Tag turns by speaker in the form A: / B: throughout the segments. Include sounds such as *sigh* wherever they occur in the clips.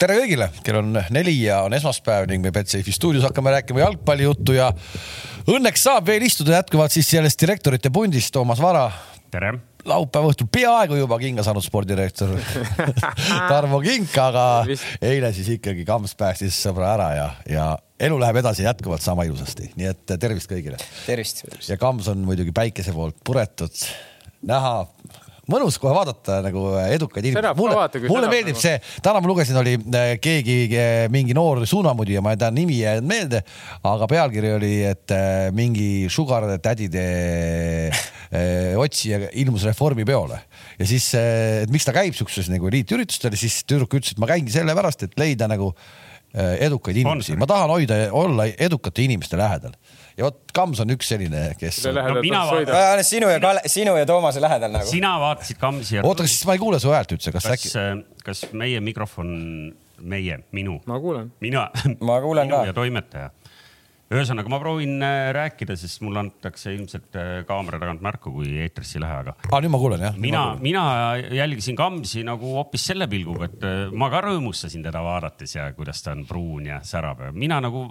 A: tere kõigile, kell on neli ja on esmaspäev ning me Betsafe'i stuudios hakkame rääkima jalgpallijuttu ja õnneks saab veel istuda jätkuvalt siis sellest direktorite pundist Toomas Vara.
B: tere.
A: laupäeva õhtul peaaegu juba kinga saanud spordidirektor Tarmo Kink, aga eile siis ikkagi kamps päästis sõbra ära ja, ja elu läheb edasi jätkuvalt sama ilusasti, nii et tervist kõigile.
C: tervist.
A: ja kamps on muidugi päikese poolt puretud, näha mõnus kohe vaadata nagu edukaid inimesi.
D: Särab ka
A: mulle,
D: vaata, kui
A: mulle
D: särab
A: meeldib
D: nagu.
A: see , täna ma lugesin , oli äh, keegi , mingi noor suunamudija , ma ei tea , nimi ei jäänud meelde , aga pealkiri oli , et äh, mingi sugar tädide äh, otsija ilmus reformipeole ja siis , et miks ta käib siukses nagu eliitüritustel , siis tüdruk ütles , et ma käingi sellepärast , et leida nagu äh, edukaid inimesi , ma tahan hoida , olla edukate inimeste lähedal ja vot Kams on üks selline , kes .
D: Selle lähedal
B: No mina
D: tuleb sõida.
C: ma olen Äh, sinu ja Kalle , sinu ja Toomase lähedal nagu .
B: sina vaatasid Kamsi ja
A: oota , kas siis ma ei kuule su häält üldse , kas
B: kas äh,
A: äkki ?,
B: kas meie mikrofon , meie , minu ,
D: ma kuulen .
B: mina ,
C: Ma kuulen
B: minu
C: ka.
B: ja toimetaja . ühesõnaga , ma proovin äh, rääkida , sest mulle antakse ilmselt äh, kaamera tagant märku , kui eetrisse ei lähe , aga
A: aa , Ah, nüüd ma kuulen jah .
B: mina , mina jälgisin Kamsi nagu hoopis selle pilguga , et äh, ma ka rõõmustasin teda vaadates ja kuidas ta on pruun ja särab ja mina nagu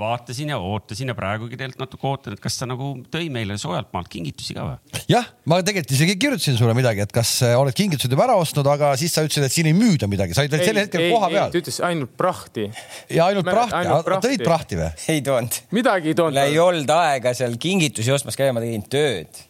B: vaatasin ja ootasin ja praegugi tegelikult natuke ootan , et kas ta nagu tõi meile soojalt maalt kingitusi ka või ?
A: jah , ma tegelikult isegi kirjutasin sulle midagi , et kas äh, oled kingitused juba ära ostnud , aga siis sa ütlesid , et siin ei müüda midagi , sa olid veel sellel hetkel koha
D: ta
A: peal
D: ütles ainult prahti .
A: ja ainult
D: Mäletad, ainult
A: prahti , tõid
D: prahti.
A: prahti või ?
C: ei toonud .
D: midagi ei
C: mul ei
D: toonud .
C: olnud aega seal kingitusi ostmas käia , ma tegin tööd .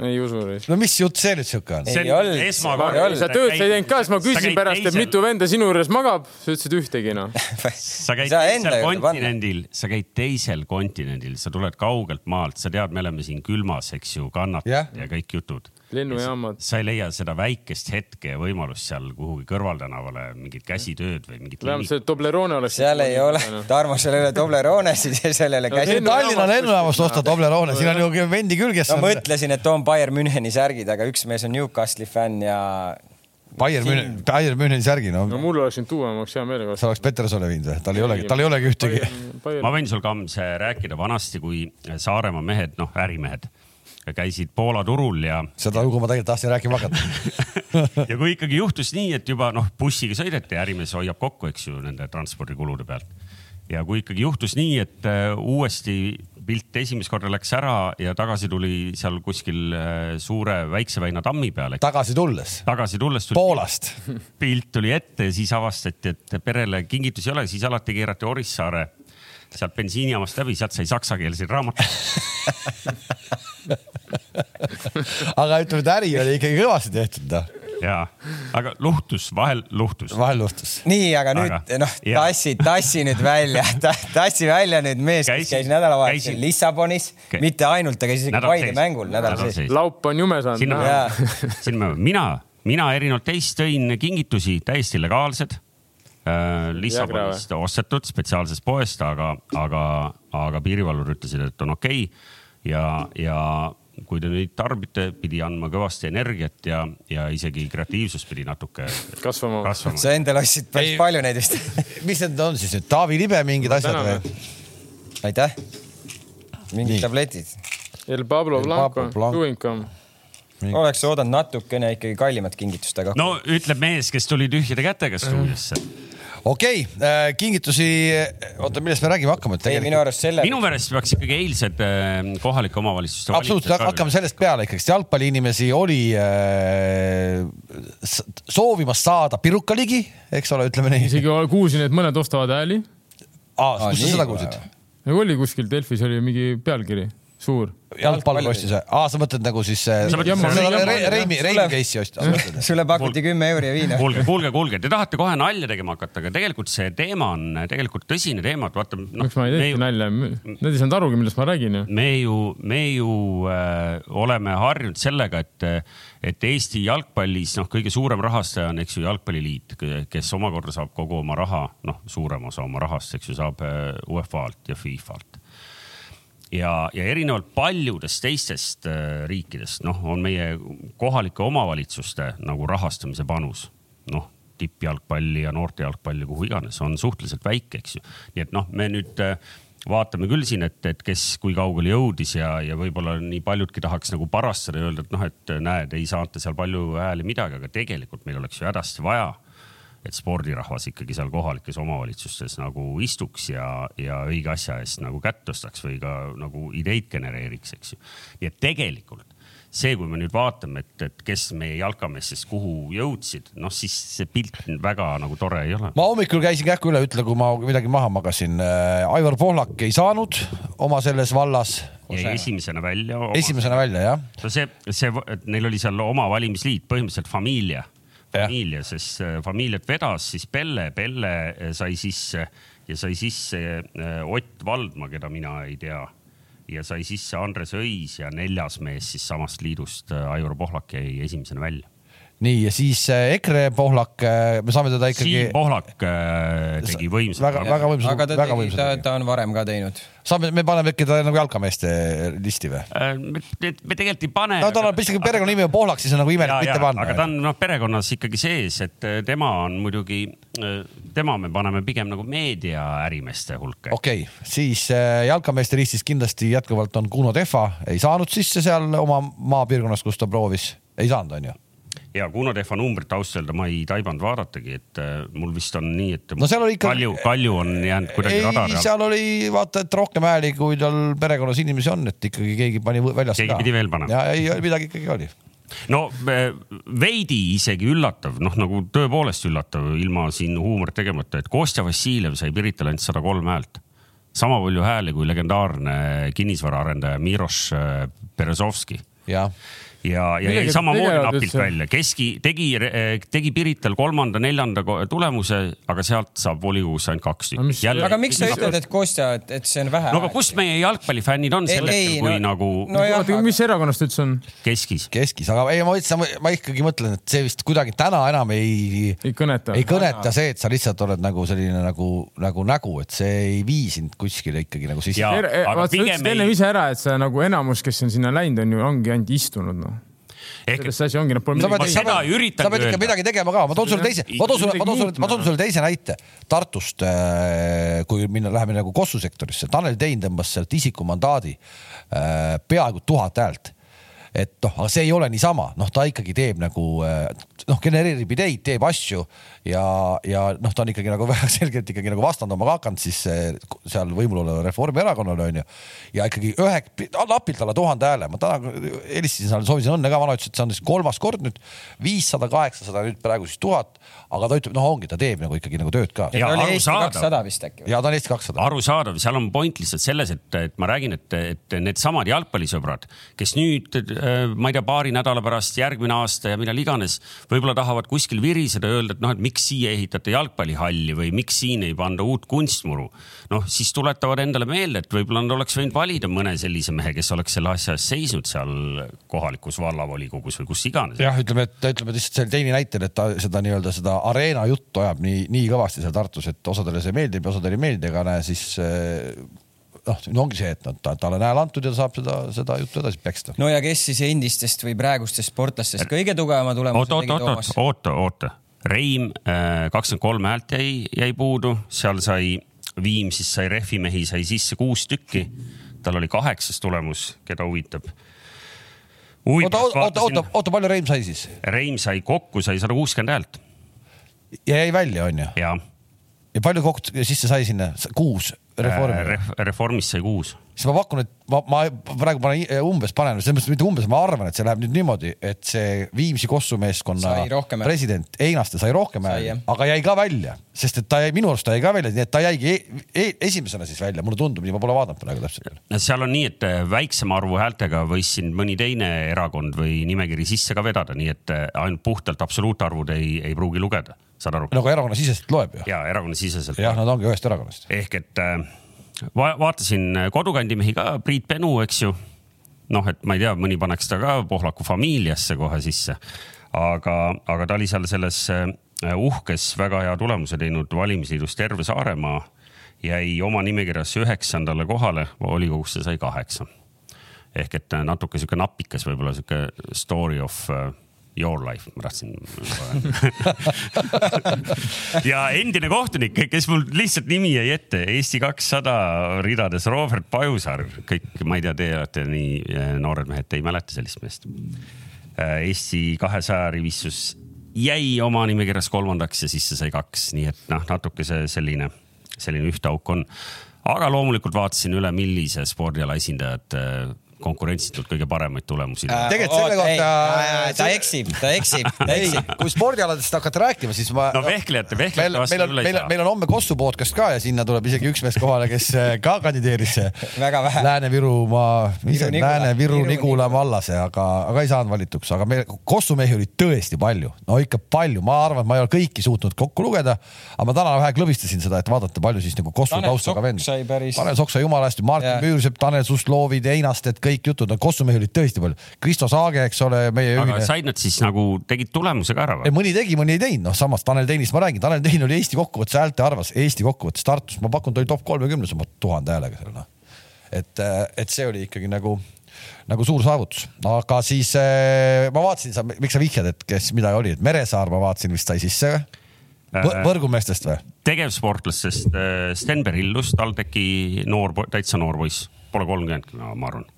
D: ei usu vist .
A: no mis jutt see nüüd siuke on ?
C: Ei olnud. Ei olnud.
D: sa tööd sa ei teinud ka , siis ma küsisin pärast , et mitu venda sinu juures magab , sa ütlesid ühtegi
A: *laughs*
D: noh .
B: sa käid teisel . kontinendil , sa käid teisel kontinendil , sa tuled kaugelt maalt , sa tead , me oleme siin külmas , eks ju , kannatad
A: Jah.
B: yeah. ja kõik jutud .
D: lennujaamad .
B: sa ei leia seda väikest hetke ja võimalust seal kuhugi kõrvaltänavale mingit käsitööd või mingit .
D: vähemalt see Toblerone oleks .
C: seal ei ole , Tarmo , seal ei ole Tobleronesid ja seal ei ole
D: No
C: käsi
D: lennu- .
A: Tallinna lennujaamast osta Toblerone , siin on ju vendi küljes
C: no ma . ütlesin , et toon Bayern Müncheni särgid , aga üks mees on Newcastle'i fänn ja
A: Bayern München , Bayern Müncheni särgi , no
D: no mul oleks nüüd tuua , ma oleks hea meelega
A: sa oleks Petersole viinud või ? tal ei olegi , tal ei olegi ühtegi .
D: ostnud
B: ma . võin sul , Kams , rääkida vanasti , kui Saaremaa mehed , noh , ärimehed käisid Poola turul ja
A: seda lugu ma tegelikult tahtsin rääkima hakata .
B: *laughs* ja kui ikkagi juhtus nii , et juba noh , bussiga sõideti , ärimees hoiab kokku , eks ju , nende transpordikulude pealt . ja kui ikkagi juhtus nii , et äh, uuesti pilt esimest korda läks ära ja tagasi tuli seal kuskil äh, suure Väikse väina tammi peale ,
A: tagasi tulles
B: tagasi tulles tuli
A: Poolast ,
B: pilt tuli ette ja siis avastati , et perele kingitusi ei ole , siis alati keerati Orissaare sealt bensiinijaamast läbi , sealt sai saksakeelseid raamatuid . *laughs*
A: aga ütleme , et äri oli ikkagi kõvasti tehtud , noh ,
B: ja , aga luhtus , vahel luhtus .
A: vahel juhtus .
C: nii , aga nüüd
B: Aga-
C: noh ,
B: jaa.
C: tassi , tassi nüüd
B: *laughs*
C: välja ta, , tassi välja nüüd mees , kes
B: Käisin-
C: käis nädalavahetusel
B: käisin-
C: Lissabonis
B: Kä- ,
C: mitte ainult , ta käis isegi Paide mängul nädala sees .
D: laup on jume
B: sinna
D: saanud .
C: Jaa. ,
B: *laughs* sinna , mina , mina erinevalt teist tõin kingitusi täiesti legaalsed . Lissabonist ostetud spetsiaalsest poest , aga , aga , aga piirivalvur ütlesid , et on okei okay. ja , ja kui te neid tarbite , pidi andma kõvasti energiat ja , ja isegi kreatiivsus pidi natuke
D: kasvama .
B: kasvama .
C: sa endale ostsid päris
A: Ei-
C: palju neid vist . *laughs*
A: mis need on siis nüüd , Taavi Libe mingid asjad
D: tänan.
A: või ?
C: aitäh .
A: Nii.
C: mingid tabletid .
D: El Pablo
A: El
D: Blanco
A: Pablo , Blanco.
D: Tuinkam .
C: oleks oodanud natukene ikkagi kallimat kingitust , aga
B: no ütleb mees , kes tuli tühjade kätega stuudiosse .
A: okei okay, , kingitusi , oota , millest me räägima hakkame
C: ei , minu
A: tegelikult ?
C: arust selle
B: minu meelest peaks ikkagi eilsed äh, kohalike omavalitsuste .
A: absoluutselt , hakkame sellest peale ikkagi , sest jalgpalliinimesi oli äh, s- soovimas saada Piruka ligi , eks ole , ütleme nii .
D: isegi kuulsin , et mõned ostavad hääli .
A: aa ,
C: Aa,
A: kus
C: nii
A: sa seda
C: kohe
A: kuulsid
C: või? ?
D: nagu oli kuskil Delfis oli mingi pealkiri , suur .
A: jalgpalli ostis või ? aa , sa mõtled nagu siis äh,
B: Sa mõtled
A: selle
B: seda-
A: Re- Re- Reimi , Reimi
C: Sulev-
A: case'i ostis ?
C: *laughs* sulle pakuti kümme euri ja viina .
B: kuulge , kuulge , kuulge , te tahate kohe nalja tegema hakata , aga tegelikult see teema on tegelikult tõsine teema , et vaata no,
D: miks ma ei
B: me
D: teinud
B: ju ,
D: nalja , nad ei saanud arugi , millest ma räägin ju .
B: me ju , me ju äh, oleme harjunud sellega , et , et Eesti jalgpallis noh , kõige suurem rahastaja on , eks ju , Jalgpalliliit , kes omakorda saab kogu oma raha , noh , suurem osa oma rahast , eks ju , saab äh, UEFA-lt ja FIFA-lt ja , ja erinevalt paljudest teistest äh, riikidest , noh , on meie kohalike omavalitsuste nagu rahastamise panus , noh tippjalgpalli ja noortejalgpalli , kuhu iganes , on suhteliselt väike , eks ju . nii et noh , me nüüd äh, vaatame küll siin , et , et kes kui kaugele jõudis ja , ja võib-olla nii paljudki tahaks nagu parastada äh, ja öelda , et noh , et näed , ei saata seal palju hääli midagi , aga tegelikult meil oleks ju hädasti vaja et spordirahvas ikkagi seal kohalikes omavalitsustes nagu istuks ja , ja õige asja eest nagu kätt tõstaks või ka nagu ideid genereeriks , eks ju . nii et tegelikult see , kui me nüüd vaatame , et , et kes meie jalkameestest kuhu jõudsid , noh siis see pilt väga nagu tore ei ole .
A: ma hommikul käisin kähku üle , ütle , kui ma midagi maha magasin . Aivar Pohlak ei saanud oma selles vallas
B: jäi esimesena välja .
A: esimesena välja jah ,
B: no see , see , et neil oli seal oma valimisliit , põhimõtteliselt Familia .
A: Jah.
B: Familia , sest äh, Familiat vedas siis Pelle , Pelle äh, sai sisse ja sai sisse äh, Ott Valdma , keda mina ei tea . ja sai sisse Andres Õis ja neljas mees siis samast liidust , Aivar Pohlak jäi esimesena välja .
A: nii ja siis äh, EKRE Pohlak , me saame teda ikkagi
B: Siim Pohlak äh, tegi
A: väga ,
B: võimsalt .
A: väga
C: aga
A: võimsa ,
C: ta
A: väga
C: tegi , ta
A: võimsa .,
C: ta on varem ka teinud .
A: saame , me paneme äkki ta nagu jalkameeste listi või ?
B: Äh, me, me tegelikult ei pane .
A: no tal on isegi perekonnanimi on Pohlak , siis on nagu imelik mitte panna .
B: aga ta on noh , perekonnas ikkagi sees , et eh, tema on muidugi , tema me paneme pigem nagu meediaärimeeste hulka .
A: okei okay, , siis äh, jalkameeste listis kindlasti jätkuvalt on Kuno Tehva , ei saanud sisse seal oma maapiirkonnas , kus ta proovis , ei saanud , onju .
B: ja Kuno Tehva numbrit ausalt öelda ma ei taibanud vaadatagi , et eh, mul vist on nii , et
A: No seal oli ikka-
B: Kalju , Kalju on jäänud kuidagi
A: ei ,
B: radari alla .
A: seal oli vaata , et rohkem hääli , kui tal perekonnas inimesi on , et ikkagi keegi pani võ- väljast
B: Keegi pidi veel panema.
A: ja ei , midagi ikkagi oli .
B: no eh, veidi isegi üllatav , noh nagu tõepoolest üllatav , ilma siin huumorit tegemata , et Kostja Vassiljev sai Pirital ainult sada kolm häält . sama palju hääli kui legendaarne kinnisvaraarendaja Miroš eh, Berezovski
A: jah ,
B: ja , ja jäi
D: Millega
B: samamoodi
D: tegelevad
B: napilt
D: üldse?
B: välja , keski tegi , tegi Pirital kolmanda-neljanda ko- tulemuse , aga sealt saab volikogus ainult kaks
D: Aga mis-
B: tükki .
C: aga miks sa ütled , et Kostja , et , et see on vähe
B: no aga ? kus meie jalgpallifännid on sel hetkel , kui no, nagu no,
C: nojah ,
D: oota , mis erakonnast üldse on ?
B: keskis ?
A: keskis , aga ei , ma ütlesin , ma ikkagi mõtlen , et see vist kuidagi täna enam ei ,
D: ei kõneta .
A: ei kõneta see , et sa lihtsalt oled nagu selline nagu , nagu nägu , et see ei vii sind kuskile ikkagi nagu sisse .
B: Jaa. Aga
D: vaata , Er- e- sa
B: pigem
D: ütlesid
B: ei-
D: ennem ise ära , et sa nagu enamus , kes on sinna läinud , on ju , ongi ainult istunud noh .
B: ehk
D: selles asi ongi , nad pole
A: sa pead, sa
B: Ma
D: midagi
B: seda
A: pead-
B: ei üritanudki
A: sa pead ikka
B: öelda.
A: midagi tegema ka , ma toon sulle teise , ma toon sulle , ma toon sulle , ma toon sulle teise näite Tartust . kui minna , läheme nagu Kossu sektorisse , Tanel Tein tõmbas sealt isikumandaadi äh, peaaegu tuhat häält et noh , aga see ei ole niisama , noh , ta ikkagi teeb nagu äh, noh , genereerib ideid , teeb asju ja , ja noh , ta on ikkagi nagu *laughs* väga selgelt ikkagi nagu vastandama ka hakanud siis äh, seal võimul olevale Reformierakonnale onju . ja ikkagi ühe , napilt alla tuhande hääle , ma täna helistasin seal , soovisin õnne ka , vana ütles , et see on siis kolmas kord nüüd viissada , kaheksasada , nüüd praegu siis tuhat , aga ta ütleb , noh , ongi , ta teeb nagu ikkagi nagu tööd ka
B: Ja
C: oli Eesti
B: arusaadav.
C: kakssada vist äkki või ?
A: ja ta on Eesti kakssada .
B: arusaadav , seal on point lihtsalt selles , et , et ma räägin , et , et needsamad jalgpallisõbrad , kes nüüd , ma ei tea , paari nädala pärast , järgmine aasta ja millal iganes , võib-olla tahavad kuskil viriseda , öelda , et noh , et miks siia ehitate jalgpallihalli või miks siin ei panda uut kunstmuru . noh , siis tuletavad endale meelde , et võib-olla nad oleks võinud valida mõne sellise mehe , kes oleks selle asja eest seisnud seal kohalikus vallavolikogus või kus iganes .
A: jah , ütleme , et ütleme lihtsalt selle teine näitel , et ta seda nii-öelda seda areena juttu ajab nii , nii kõvasti seal Tartus , et osadele see meeldib ja osadele ei meeldi , aga näe siis eh, noh , ongi see , et noh , ta , talle on hääl antud ja ta saab seda , seda juttu edasi peksta .
C: no ja kes siis endistest või praegustest sportlastest kõige tugevama
B: oot ,
C: tulemuse
B: oot ,
C: tegi
B: oot , oot
C: Toomas ?,
B: oota , oota . Reim äh, kakskümmend kolm häält jäi , jäi puudu , seal sai Viimsis sai rehvimehi sai sisse kuus tükki . tal oli kaheksas tulemus , keda huvitab .
A: oota , oota , oota , oota , palju Reim sai siis ?
B: Reim sai kokku , sai sada kuuskümmend häält
A: ja jäi välja , onju .
B: ja
A: ja palju kokku sisse sai sinna ? kuus
B: Reformi.
A: reformi .
B: äh, Ref, reformist sai kuus .
A: siis ma pakun , et ma , ma praegu panen i- äh, umbes panen , selles mõttes mitte umbes , ma arvan , et see läheb nüüd niimoodi , et see Viimsi Kossu meeskonna
C: Sai rohkem hääli.
A: president Einaste sai rohkem
C: Sai,
A: hääli
C: jah. ,
A: aga jäi ka välja , sest et ta jäi , minu arust ta jäi ka välja , nii et ta jäigi e e esimesena siis välja , mulle tundub nii , ma pole vaadanud praegu täpselt .
B: seal on nii , et eh, väiksema arvu häältega võis siin mõni teine erakond või nimekiri sisse ka vedada , nii et eh, ainult puhtalt absoluutarvud ei , ei pruugi lugeda , saad aru ?
A: nagu erakonnasiseselt loeb ju .
B: ja erakonnasiseselt .
A: jah , nad ongi ühest erakonnast .
B: ehk et äh, va vaatasin äh, kodukandimehi ka , Priit Penu , eks ju . noh , et ma ei tea , mõni paneks ta ka Pohlaku familiasse kohe sisse . aga , aga ta oli seal selles äh, uhkes väga hea tulemuse teinud valimisliidus terve Saaremaa . jäi oma nimekirjas üheksandale kohale , volikogusse sai kaheksa . ehk et äh, natuke sihuke napikas , võib-olla sihuke story of äh, your life , ma tahtsin *laughs* ja endine kohtunik , kes mul lihtsalt nimi jäi ette , Eesti kakssada ridades Robert Pajusaar , kõik , ma ei tea , teie olete nii äh, eh, noored mehed , te ei mäleta sellist meest . Eesti kahesaja rivistus jäi oma nimekirjas kolmandaks ja sisse sai kaks, nii et noh, natuke see selline, selline üht auk on. aga loomulikult vaatasin üle, millise spordiala esindajad eh, konkurentsitult kõige paremaid tulemusi äh, .
A: Tegelikult selle kohta-
C: ta eksib , ta eksib , ta
A: ei
C: eksib .,
A: kui spordialadest hakata rääkima , siis ma .
B: No vehklejate- vehklejate
A: meil ,
B: vastu
A: meil on ,
B: küll ei
A: meil
B: saa.
A: on , meil on homme Kossu podcast ka ja sinna tuleb isegi üks mees kohale , kes äh, ka kandideeris .
C: Väga vähe.
A: Lääne-Virumaa ,
C: Viru-Nigula.
A: Lääne-Viru Nigula
C: Viru-Nigula.
A: vallas , aga , aga ei saanud valituks , aga meil Kossu mehi oli tõesti palju , no ikka palju , ma arvan , et ma ei ole kõiki suutnud kokku lugeda , aga ma täna vähe klõbistasin seda , et vaadata , palju siis nagu Kossu
C: Tanel
A: taustaga
C: Sokk
A: vend .
C: sai päris-
A: Tanel Sokk sai jumala hästi , Martin
C: Jaa.
A: Müürsepp , Tanel Sustlovid , Einasted , kõik jutud , no Kossu mehi oli tõesti palju . Kristo Saage , eks ole , meie
B: aga
A: ühine
B: said nad siis nagu tegid tulemuse ka ära
A: ei ,
B: või ?
A: mõni tegi , mõni ei teinud , noh , samas Tanel Teinist ma räägin , Tanel Tein oli Eesti kokkuvõttes häälte arvas , Eesti kokkuvõttes Tartus , ma pakun , ta oli top kolmekümnes oma tuhande häälega seal noh . et , et see oli ikkagi nagu , nagu suur saavutus , aga siis eh, ma vaatasin , sa , miks sa vihjad , et kes mida oli , et Meresaar ma vaatasin vist sai sisse või ?
B: Äh.
A: võrgumeestest või ?
B: tegevsportlastest äh, Stenber Illus , TalTechi noor , täitsa noor poiss , pole kolmkümmend , no ma arvan .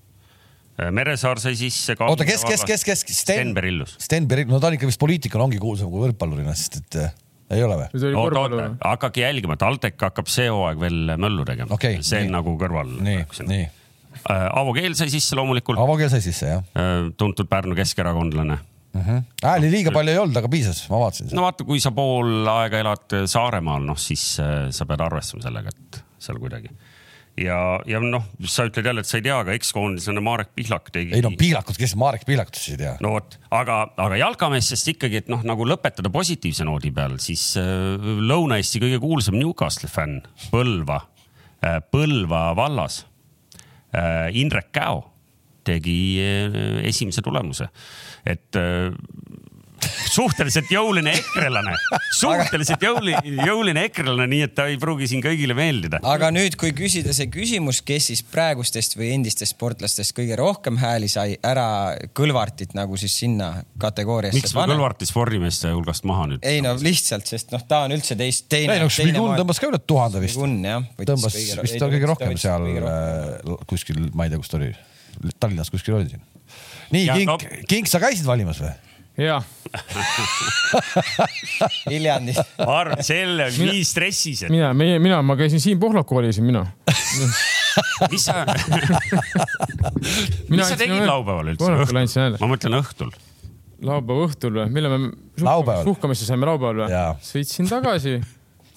B: Meresaar sai sisse ka .
A: oota , kes , kes , kes , kes ?
B: Stenber Illus .
A: Stenber Illus , no ta on ikka vist poliitikuna ongi kuulsam kui võrkpallurina , sest et eh, ei ole või ?
D: nüüd oli
B: oota ,
D: korvpall
B: oota
D: või ?,
B: hakake jälgima , TalTech hakkab see hooaeg veel möllu tegema
A: Okei,
B: see
A: nii.
B: on nagu kõrval .
A: nii , nii ,
B: Aavo Keel sai sisse loomulikult ,
A: Avo Keel sai sisse jah
B: tuntud Pärnu keskerakondlane .
A: uh -huh. . hääli liiga palju ei olnud , aga piisas , ma vaatasin seda .
B: no vaata , kui sa pool aega elad Saaremaal , noh siis äh, sa pead arvestama sellega , et seal kuidagi ja , ja noh , sa ütled jälle , et sa ei tea , aga ekskoondislane Marek Pihlak tegi .
A: ei no Pihlakut , kes Marek Pihlakut siis ei tea ?
B: no vot , aga , aga jalkameestest ikkagi , et noh , nagu lõpetada positiivse noodi peal , siis äh, Lõuna-Eesti kõige kuulsam Newcastle'i fänn , Põlva äh, , Põlva vallas äh, , Indrek Käo tegi äh, esimese tulemuse , et äh, suhteliselt jõuline ekrelane , suhteliselt jõuli- , jõuline ekrelane , nii et ta ei pruugi siin kõigile meeldida .
C: aga nüüd , kui küsida see küsimus , kes siis praegustest või endistest sportlastest kõige rohkem hääli sai , ära Kõlvartit nagu siis sinna kategooriasse
B: miks me . Kõlvarti spordimeeste hulgast maha nüüd ?
C: ei no lihtsalt , sest noh , ta on üldse teist , teine
A: ei . no Šmigun tõmbas ka üle tuhande vist .
C: Šmigun, jah, võttis
A: tõmbas
C: kõige-
A: vist
C: ei,
A: ta kõige
C: ta
A: rohkem
C: võttis
A: seal
C: kõige
A: äh, kuskil , ma ei tea , kus ta oli , Tallinnas kuskil oli siin . nii
B: Ja, ,
A: Kink
B: no- ,
A: Kink , sa käisid valimas või ?
D: jah ,
C: Viljandis .
B: ma arvan , selle , nii stressis , et
D: mina , meie , mina , ma käisin Siim Pohlaku valisin
B: *laughs*
D: mina .
B: mis sa , mis sa tegid laupäeval
D: Pohlakule andsin
B: üldse ?
D: hääle .
B: ma mõtlen õhtul .
D: laupäeva õhtul või , millal me
A: Laupäeval.
D: suhkamis- suhkamisse saime laupäeval või
A: Jaa. ?
D: sõitsin
B: *laughs*
D: tagasi .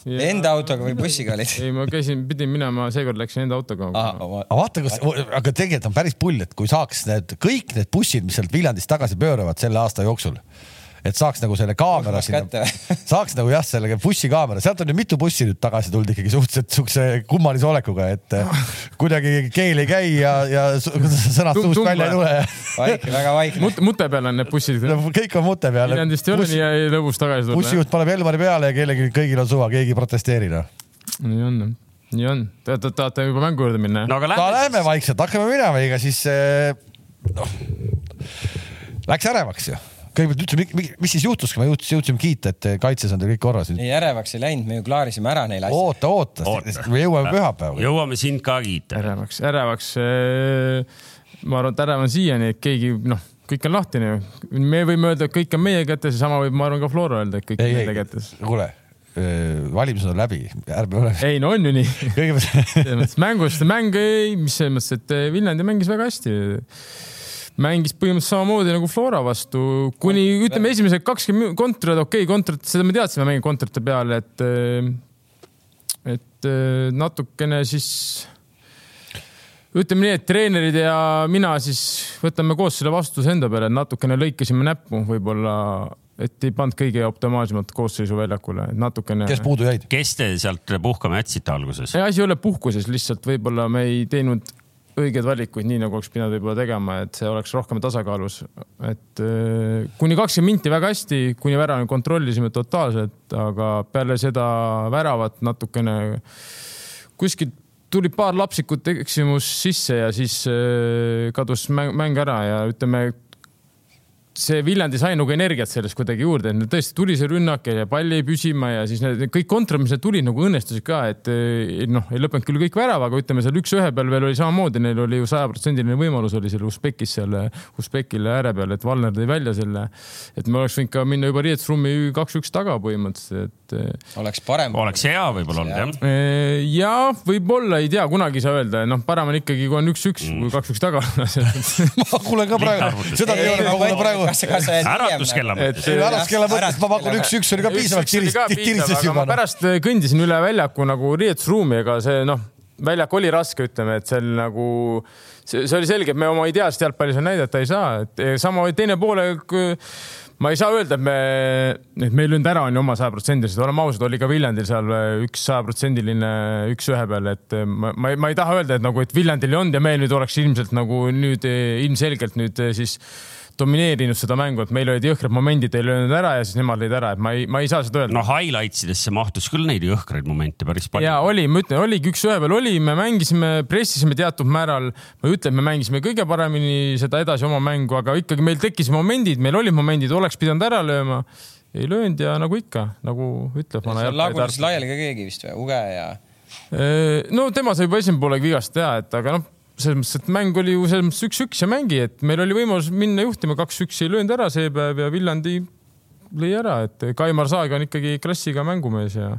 C: Enda autoga või bussiga olid ?
D: ei , ma käisin , pidin minema , seekord läksin enda autoga .
A: aga vaata , kas , aga tegelikult on päris pull , et kui saaks need kõik need bussid , mis sealt Viljandist tagasi pööravad selle aasta jooksul , et saaks nagu selle kaamera
C: Kokku
A: sinna
C: kätte. , *laughs*
A: saaks nagu jah , selle bussikaamera , sealt on ju mitu bussi nüüd tagasi tulnud ikkagi suhteliselt siukse kummalise olekuga , et eh, kuidagi keel ei käi ja , ja su- sõnad
D: Tum-
A: suust välja ei
D: tumble.
A: tule .
C: vaikne , väga vaikne .
D: mute , mute peal on need bussid .
A: kõik on mute peal .
D: Viljandist ei ole nii ei- lõbus tagasi tulla .
A: bussijuht paneb Elmari peale ja kellelgi , kõigil on suva , keegi ei protesteeri noh .
D: nii on , nii on . Te te- tahate juba mängu juurde minna ?
B: no aga
A: no
B: lähme
A: lähme vaikselt , hakkame minema , ega siis eh, noh , läks ärevaks ju . kõigepealt ütleme , mis siis juhtus , kui me jõuds- jõudsime kiita , et eh, kaitses on teil kõik korras .
C: ei , ärevaks ei läinud , me ju klaarisime ära neil asjad .
A: oota , oota,
B: Oota.
A: oota. , me jõuame pühapäeva .
B: jõuame sind ka kiita .
D: ärevaks , ärevaks . äh, ma arvan , et ärev on siiani , et keegi noh , kõik on lahtine ju . me võime öelda , et kõik on meie kätes ja sama võib , ma arvan , ka Flora öelda , et kõik on
A: ei ,
D: nende
A: ei
D: kätes .,
A: kuule , valimised on läbi , ärme ole .
D: ei no on ju nii . *laughs*
A: kõigepealt , *laughs*
D: selles mõttes mängust , mäng ei , mis selles mõttes , et eh, Viljandi mängis väga hästi . mängis põhimõtteliselt samamoodi nagu Flora vastu , kuni ütleme , esimesed kakskümmend kontrat , okei okay, , kontrat , seda me teadsime mängi kontrate peale , et eh, et eh, natukene siis ütleme nii , et treenerid ja mina siis võtame koos selle vastutuse enda peale , et natukene lõikasime näppu võib-olla , et ei pannud kõige optimaalsemat koosseisu väljakule , et natukene .
A: kes puudu jäid ? *laughs*
B: kes te sealt puhkama jätsite alguses ?
D: see asi ei ole puhkuses , lihtsalt võib-olla me ei teinud õigeid valikuid , nii nagu oleks pidanud võib-olla tegema , et see oleks rohkem tasakaalus . et äh, kuni kakskümmend minti väga hästi , kuni väravani kontrollisime totaalselt , aga peale seda väravat natukene kuskilt tuli paar lapsikut eksimust sisse ja siis äh, kadus mäng, mäng ära ja ütleme , see Viljandi sai nagu energiat sellest kuidagi juurde, et tõesti tuli see rünnak ja jäi palli jäi püsima ja siis need kõik kontrad, mis seal tulid, nagu õnnestusid ka, et eh, noh, ei lõppenud küll kõik värava, aga ütleme seal üks-ühe peal veel oli samamoodi, neil oli ju sajaprotsendiline võimalus oli seal Usbekis seal, Usbekile ääre peal, et Valner tõi välja selle. et me oleks võinud ka minna juba riietusruumi kaks-üks taga põhimõtteliselt, et eh,
C: oleks parem .
B: oleks hea võib-olla olnud jah .
A: Äh,
D: ja võib-olla ei tea , kunagi ei saa öelda , noh , parem on ikkagi , kui on üks-üks
A: Mm.
D: kui kaks-üks taga .
A: *laughs* ma kuulen ka praegu , seda ei ole , ma kuulen praegu .
B: äratuskella mõttes .
A: ei , äratuskella mõttes ma pakun üks-üks oli ka piisavalt tirises juba . noh.
D: pärast äh, kõndisin üle väljaku nagu riietusruumi , ega see noh , väljak oli raske , ütleme , et seal nagu see, see oli selge , et me oma ideast jalgpallis on näidata ei saa , et sama teine poolek ma ei saa öelda , et me , et me ei löönud ära , on ju , oma sajaprotsendiliselt , oleme ausad , oli ka Viljandil seal äh, üks sajaprotsendiline üks ühe peal , et äh, ma , ma ei , ma ei taha öelda , et nagu , et Viljandil ei olnud ja meil nüüd oleks ilmselt nagu nüüd eh, ilmselgelt nüüd eh, siis domineerinud seda mängu , et meil olid jõhkrad momendid , ei löönud ära ja siis nemad lõid ära , et ma ei , ma ei saa seda öelda no, .
B: no highlights idesse mahtus küll neid jõhkraid momente päris palju .
D: ja oli , ma ütlen , oligi üks-ühe peal oli , me mängisime , pressisime teatud määral , ma ei ütle , et me mängisime kõige paremini seda edasi oma mängu , aga ikkagi meil tekkisid momendid , meil olid momendid , oleks pidanud ära lööma , ei löönud ja nagu ikka , nagu ütleb vana
C: lagunes laiali ka keegi vist või , Uge ja .
D: no tema sai juba esimene poolega vigast teha , et aga noh , selles mõttes , et mäng oli ju selles mõttes üks-üks ja mängi , et meil oli võimalus minna juhtima , kaks-üks ei löönud ära see päev ja Viljandi lõi ära , et Kaimar Saag on ikkagi klassiga mängumees ja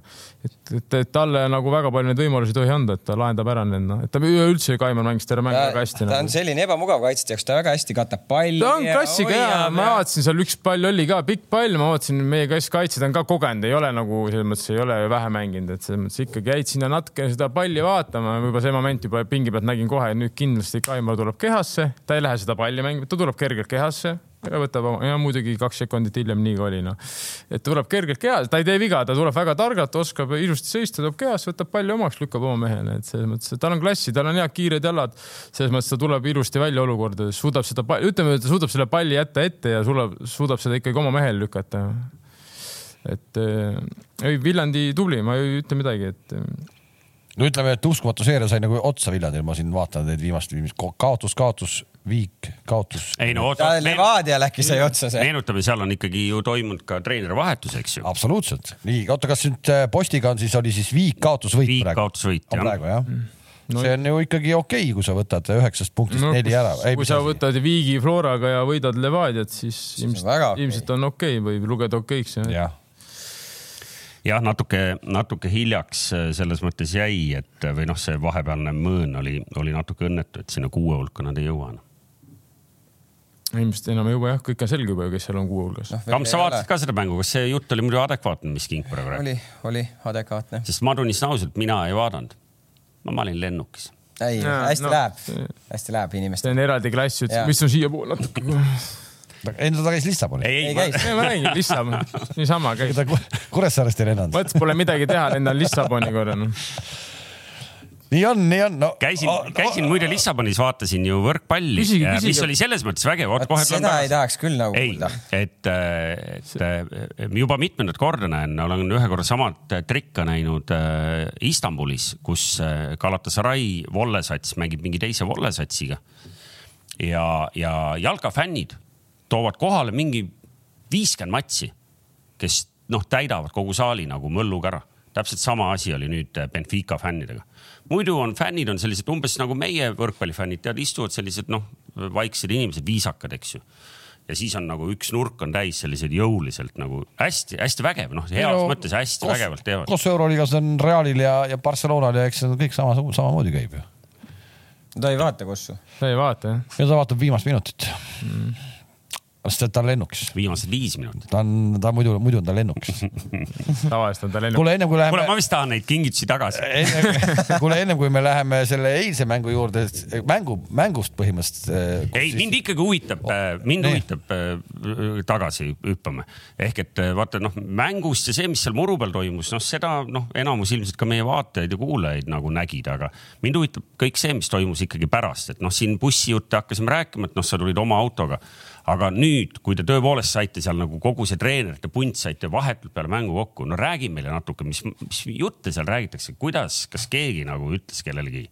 D: et, et, et talle nagu väga palju neid võimalusi ei tohi anda , et ta lahendab ära need , noh , et ta üleüldse Kaimar mängis terve mängu väga hästi . nagu
C: ta on selline ebamugav kaitsjate jaoks , ta väga hästi katab palli .
D: ta on klassiga ja ma vaatasin seal üks pall oli ka pikk pall , ma vaatasin , meie kass kaitsjad on ka kogenud , ei ole nagu selles mõttes ei ole ju vähe mänginud , et selles mõttes ikkagi jäid sinna natuke seda palli vaatama , juba see moment juba pingi pealt nägin kohe , nüüd kindlasti Kaimar tuleb kehasse , ta ei lähe seda palli mängima , ta tuleb kergelt kehasse ja võtab oma , ja muidugi kaks sekundit hiljem nii ka oli noh , et tuleb kergelt kehasse , ta ei tee viga , ta tuleb väga targalt , oskab ilusti seista , tuleb kehasse , võtab palli omaks , lükkab oma mehele , et selles mõttes , et tal on klassi , tal on head kiired jalad , selles mõttes ta tuleb ilusti välja olukordades , suudab seda , ütleme , ta suudab selle palli jätta ette ja suudab , suudab seda ikkagi oma mehele lükata . et eh, ei , Viljandi tubli , ma ei ütle midagi , et eh,
A: no ütleme , et uskumatu seeria sai nagu otsa Viljandil , ma siin vaatan neid viimast , viimast ko- kaotus , kaotus , viik , kaotus .
B: ei no oota
C: ta , Levadial äkki sai otsa see .
B: meenutame , seal on ikkagi ju toimunud ka treenerivahetus , eks ju .
A: absoluutselt , nii oota , kas nüüd äh, postiga on siis oli siis viik , kaotus , võit
B: Viik,
A: praegu ?
B: kaotus, võit,
A: jah .
B: jah.
A: praegu jah
D: Mm.
A: no, . see on ju ikkagi okei okay, , kui sa võtad üheksast punktist no,
D: no,
A: neli ära .
D: kui sa võtad Viigi Floraga ja võidad Levadiat , siis ilmselt,
C: väga okei.
D: ilmselt on okei okay, , võib lugeda okeiks jah.
A: jah ,
B: jah , natuke , natuke hiljaks äh, selles mõttes jäi , et või noh , see vahepealne mõõn oli , oli natuke õnnetu , et sinna kuue hulka nad ei jõua .
D: ilmselt enam ei jõua jah , kõik on selge juba ju , kes seal on kuu hulgas
C: Noh,
D: no. .
B: Kamps , sa vaatasid ka seda mängu , kas see jutt oli muidu adekvaatne , mis King praegu rääkis ?
C: oli , oli adekvaatne .
B: sest ma tunnistan ausalt , mina ei vaadanud . ma olin lennukis .
C: ei ,
D: Jaa,
C: hästi
D: no.
C: läheb , hästi läheb inimestel .
D: see on eraldi klass ,
C: Jaa.
D: ütles , mis on *laughs* siiapoole natuke .
A: ei no ta käis Lissabonis ,
B: ei ,
C: ei
B: ei ,
C: käis ,
D: ei ma räägin , Lissabon , niisama käis .
A: ta Ku- Kuressaarest ei lennanud .
D: mõttes pole midagi teha , lendan Lissaboni korra noh .
A: nii on , nii on no, .
B: käisin ,
C: Oh,
B: käisin . muide Lissabonis , vaatasin ju võrkpalli äh,
D: Küsige, ,
B: mis
D: küsige.
B: oli selles mõttes vägev .
C: vot seda ei tahaks küll nagu
B: ei
C: kuulda .,
B: et , et äh, juba mitmendat korda näen , olen ühe korra samat trikka näinud äh, Istanbulis , kus äh, Galatasaray vollesats mängib mingi teise vollesatsiga . ja , ja jalkafännid toovad kohale mingi viiskümmend matsi , kes noh , täidavad kogu saali nagu mõlluga ära . täpselt sama asi oli nüüd äh, Benfica fännidega . muidu on fännid on sellised umbes nagu meie võrkpallifännid , tead , istuvad sellised noh , vaiksed inimesed , viisakad , eks ju ja siis on nagu üks nurk on täis selliseid jõuliselt nagu hästi-hästi vägev , noh , heas no, mõttes hästi koos, vägevalt teevad .
A: koos Euroliigas on Realil ja , ja Barcelonal ja eks see on kõik sama , samamoodi käib ju .
C: ta ei vaata kossu .
D: sa ei vaata jah ?
A: ja ta vaatab viimast minutit mm. . sest et ta on lennukis ,
B: viimased viis minutit .
A: ta on , ta muidu , muidu on ta
D: *laughs*
A: lennukis .
D: tavaliselt on ta lennuk .
A: kuule , ennem kui
B: kuule ,
A: läheme
B: ma . vist tahan neid kingitusi tagasi .
A: Enne, kuule ennem kui me läheme selle eilse mängu juurde , mängu , mängust põhimõtteliselt . eh,
B: ei , mind ikkagi huvitab , mind
A: Nii.
B: huvitab äh, tagasi hüppame . ehk et äh, vaata noh , mängust ja see , mis seal muru peal toimus , noh , seda noh , enamus ilmselt ka meie vaatajaid ja kuulajaid nagu nägid , aga mind huvitab kõik see , mis toimus ikkagi pärast , et noh , siin bussijutte hakkasime rääkima , et noh , sa tulid oma autoga . aga nüüd , kui te tõepoolest saite seal nagu kogu see treenerite punt saite vahetult peale mängu kokku , no räägi meile natuke , mis , mis jutte seal räägitakse , kuidas , kas keegi nagu ütles kellelegi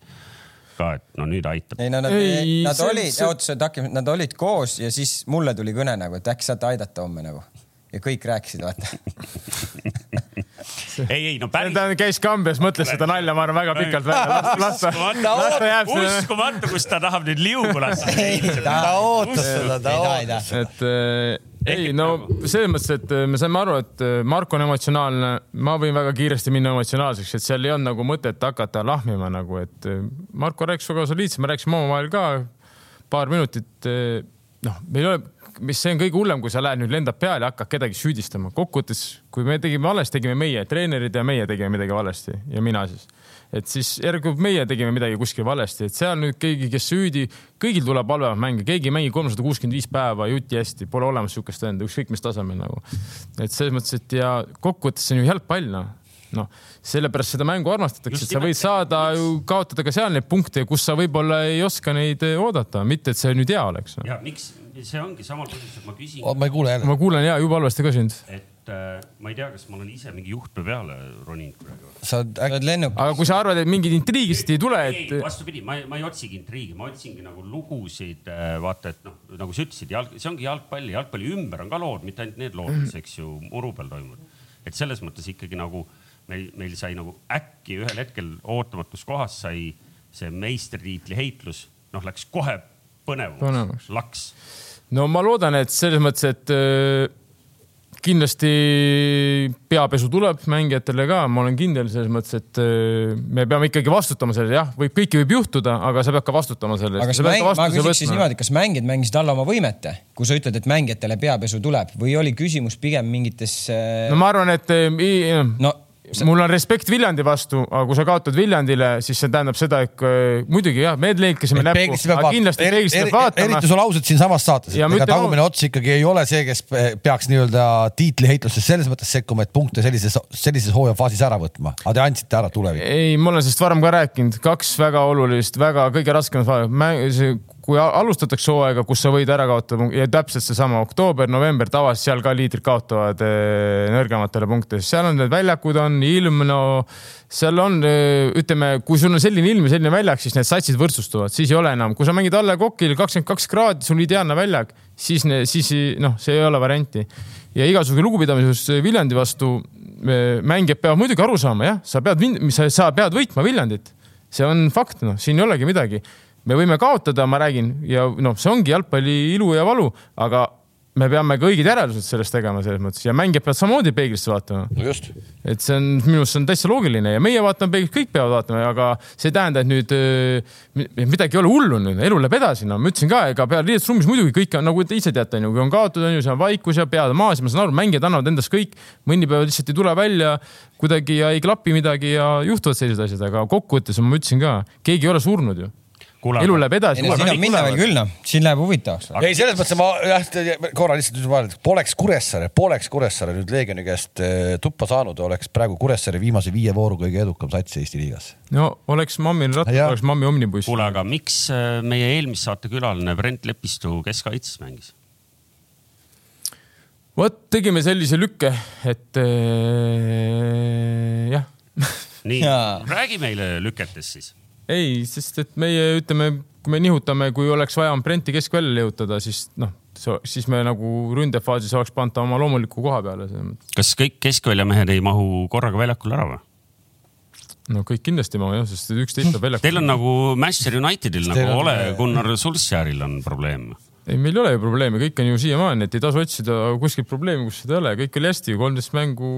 B: ka , et no nüüd aitab .
C: ei no nad ,
D: Ei,
C: nad
D: see-
C: olid ,
D: see-
C: oota , äkki nad olid koos ja siis mulle tuli kõne nagu , et äkki saate aidata homme nagu ja kõik rääkisid ,
A: *laughs*
C: vaata .
B: ei , ei no päris .
D: ta käis Kambjas , mõtles seda nalja , ma arvan , väga pikalt välja . las ta , las ta jääb sinna .
B: uskumatu , kus ta tahab nüüd liugu lasta .
A: ta ootas seda , ta
C: ei
A: ootas .
D: et äh, ei
B: Ehk
D: no
B: nagu-
D: selles mõttes , et äh, me saime aru , et äh, Marko on emotsionaalne , ma võin väga kiiresti minna emotsionaalseks , et seal ei olnud nagu mõtet hakata lahmima nagu , et äh, Marko rääkis väga soliidselt , me rääkisime omavahel ka paar minutit . noh , meil ei ole , mis see on kõige hullem , kui sa lähed nüüd lendad peale ja hakkad kedagi süüdistama . kokkuvõttes , kui me tegime valesti , tegime meie , treenerid ja meie tegime midagi valesti ja mina siis et siis järelikult meie tegime midagi kuskil valesti , et seal nüüd keegi , kes süüdi , kõigil tuleb halvemat mänge , keegi ei mängi kolmsada kuuskümmend viis päeva juti hästi , pole olemas niisugust venda , ükskõik mis tasemel nagu . et selles mõttes , et ja kokkuvõttes see on ju jalgpall noh , noh sellepärast seda mängu armastatakse ,
B: Just
D: et sa võid
B: nimelt.
D: saada ju kaotada ka seal neid punkte , kus sa võib-olla ei oska neid eh, oodata , mitte et see nüüd hea oleks .
B: ja miks , see ongi samal põhjusel , ma küsin ,
A: Oh, ma ei kuule jälle .
D: ma kuulen ja jube halvasti ka sind ,
B: et äh, ma ei tea , kas ma olen ise mingi juhtme peale roninud praegu .
A: sa oled äkki ,
C: oled lennuk ,
D: aga kui sa arvad , et mingit intriigist ei tule ,
B: ei ,
D: et
B: vastupidi , ma , ma ei otsigi intriigi , ma otsingi nagu lugusid , vaata , et noh , nagu sa ütlesid , jalg , see ongi jalgpall , jalgpalli ümber on ka lood , mitte ainult need lood , mis , eks ju , muru peal toimuvad . et selles mõttes ikkagi nagu meil , meil sai nagu äkki ühel hetkel ootamatus kohas sai see meistritiitli heitlus , noh , läks kohe põnevamaks
D: Põnevaks. ,
B: laks .
D: no ma loodan , et selles mõttes , et öö, kindlasti peapesu tuleb mängijatele ka , ma olen kindel selles mõttes , et öö, me peame ikkagi vastutama selle , jah , võib , kõike võib juhtuda , aga sa pead ka vastutama selle
C: aga
D: eest .
C: kas mäng , ma küsiks siis niimoodi , kas mängijad mängisid alla oma võimete , kui sa ütled , et mängijatele peapesu tuleb või oli küsimus pigem mingites äh,
D: no ma arvan , et äh, öö, ei-
C: no
D: see... mul on respekt Viljandi vastu , aga kui sa kaotad Viljandile , siis see tähendab seda , et öö, muidugi jah , me leekisime näppu ,
A: peeglisse peab
D: aga
A: vaatama ,
D: kindlasti peeglisse peab vaatama
A: eriti . sul ausalt siinsamas saates , et
D: Ja ma
A: ega
D: ütlen
A: tagumine ots ikkagi ei ole see , kes pe- peaks nii-öelda tiitliheitluses selles mõttes sekkuma , et punkte sellises , sellises hooajafaasis ära võtma , aga te andsite ära tulevikus .
D: ei , ma olen sellest varem ka rääkinud , kaks väga olulist , väga kõige raskemat vaeva . kui a- alustatakse hooaega , kus sa võid ära kaotada ja täpselt seesama oktoober , november , tavaliselt seal ka liidrid kaotavad eh, nõrgematele punkte , seal on need väljakud on ilm , no seal on , ütleme , kui sul on selline ilm ja selline väljak , siis need satsid võrdsustuvad , siis ei ole enam , kui sa mängid alla kokil kakskümmend kaks kraadi , sul ideaalne väljak , siis , siis ei- noh , see ei ole varianti ja igasuguse lugupidamises Viljandi vastu eh, mängijad peavad muidugi aru saama , jah , sa pead , sa, sa pead võitma Viljandit . see on fakt , noh , siin ei olegi midagi . me võime kaotada , ma räägin ja noh , see ongi jalgpalli ilu ja valu , aga me peame ka õiged järeldused sellest tegema selles mõttes ja mängijad peavad samamoodi peeglisse vaatama .
A: no just .
D: et see on minu arust see on täitsa loogiline ja meie vaatame peeglit , kõik peavad vaatama , aga see ei tähenda , et nüüd öö, mi- midagi ei ole hullu nüüd , elu läheb edasi , no ma ütlesin ka , ega peal riietus ruumis muidugi kõik on nagu te ise teate , onju , kui on kaotud , onju , seal on vaikus ja pead maas ja ma saan aru , mängijad annavad endast kõik , mõni päev lihtsalt ei tule välja kuidagi ja ei klapi midagi ja juhtuvad sellised asjad , aga kokkuvõttes ma ütlesin ka , keegi ei ole surnud ju . elu läheb edasi
C: ei no . siin on minna veel küll noh , siin läheb huvitavaks .
A: ei , selles mõttes ma jah , korra lihtsalt ütlen vahele , et poleks Kuressaare , poleks Kuressaare nüüd Leegioni käest eh, tuppa saanud , oleks praegu Kuressaare viimase viie vooru kõige edukam sats Eesti liigas .
D: no oleks mammil ratas ,
A: Jah.
D: oleks mammi omnibuss .
B: kuule , aga miks äh, meie eelmise saate külaline Brent Lepistu keskkaitses mängis ?
D: vot tegime sellise lükke , et äh, jah *laughs*
B: nii
C: Jaa. ,
B: räägi meile lüketest siis
D: ei , sest et meie ütleme , kui me nihutame , kui oleks vaja Ambrenti keskvälja lihutada , siis noh , siis me nagu ründefaasis oleks pannud ta oma loomuliku koha peale .
B: kas kõik keskväljamehed ei mahu korraga väljakule ära või ?
D: no kõik kindlasti ma jah , sest üks teist tuleb
B: Teil
D: väljakule .
B: on nagu Manchester Unitedil
A: Teil
B: nagu
A: on-
B: Ole Gunnar Solskjaeril on probleem .
D: ei , meil ei ole ju probleeme , kõik on ju siiamaani , et ei tasu otsida kuskilt probleemi , kus seda ei ole , kõik oli hästi , kolmteist mängu .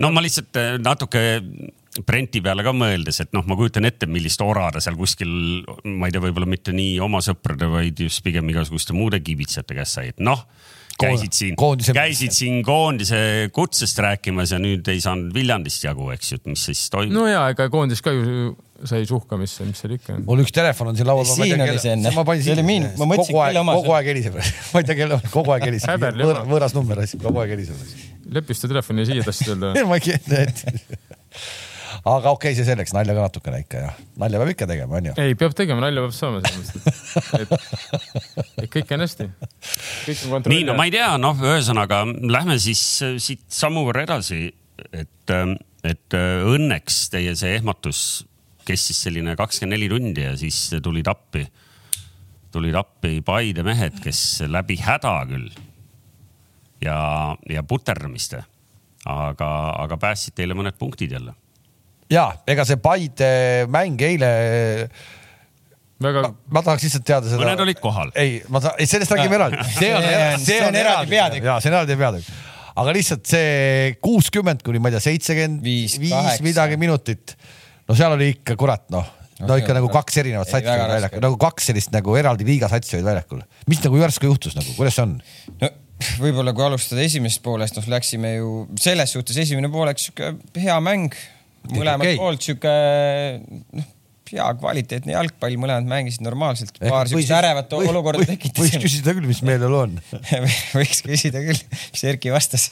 B: no ma lihtsalt äh, natuke Brenti peale ka mõeldes , et noh , ma kujutan ette , millist ora ta seal kuskil , ma ei tea , võib-olla mitte nii oma sõprade , vaid just pigem igasuguste muude kibitsate käest sai , et noh , käisid siin ,
A: koondise-
B: käisid siin koondise kutsest rääkimas ja nüüd ei saanud Viljandist jagu , eks ju , et mis siis toimub no. .
D: no ja ega koondis ka ju sai suhkamisse , mis seal ikka on .
A: mul üks telefon on siin laual .
C: Siin oli see enne. See oli min- ma mõtlesin,
A: kogu aeg
C: kelle , oma see
A: kogu aeg heliseb . *laughs* ma ei tea , kelle , kogu aeg heliseb
D: Häber ,
A: võõras
D: jama. ,
A: võõras number , kogu aeg *laughs* heliseb .
D: lepiste telefoni siia tahtsid öelda ?
A: ma ei kujuta ette . aga okei okay, , see selleks , nalja ka natukene ikka ja nalja peab ikka tegema , onju .
D: ei , peab tegema , nalja peab saama selles mõttes , et , et kõik on hästi .
B: nii , no ma ei tea , noh , ühesõnaga lähme siis äh, siit äh, sammu võrra edasi , et , et äh, õnneks teie see ehmatus kestis selline kakskümmend neli tundi ja siis tulid appi, tulid appi Paide mehed, kes läbi häda küll ja , ja puterdamiste , aga , aga päästsid teile mõned punktid jälle .
A: ja ega see Paide mäng eile ,
D: väga
A: ma tahaks lihtsalt teada seda .
B: mõned olid kohal .
A: ei , ma saan , ei sellest räägime eraldi . *laughs* see on,
C: See on- see on eraldi peatükk.
A: ja see on eraldi peatükk . aga lihtsalt see kuuskümmend kuni ma ei tea , seitsekümmend
C: Viis,
A: viis , viis
C: kaheksa.
A: midagi minutit . no seal oli ikka kurat noh , no
C: see
A: ikka
C: on
A: nagu
C: raske.
A: kaks erinevat
C: Ei,
A: satsi
C: väga
A: olid
C: raske.
A: väljakul , nagu kaks sellist nagu eraldi liiga satsi olid väljakul . mis nagu järsku juhtus nagu , kuidas see on ?
C: no võib-olla kui alustada esimesest poolest , noh , läksime ju selles suhtes esimene poolek sihuke hea mäng , mõlemalt
A: okei.
C: okay. poolt sihuke noh, hea kvaliteetne jalgpall , mõlemad mängisid normaalselt , paar siukest ärevat olukorda
A: võiks
C: tekitasid .
A: küsida küll , mis meeleolu on .
C: *laughs* võiks küsida küll , mis Erki vastas .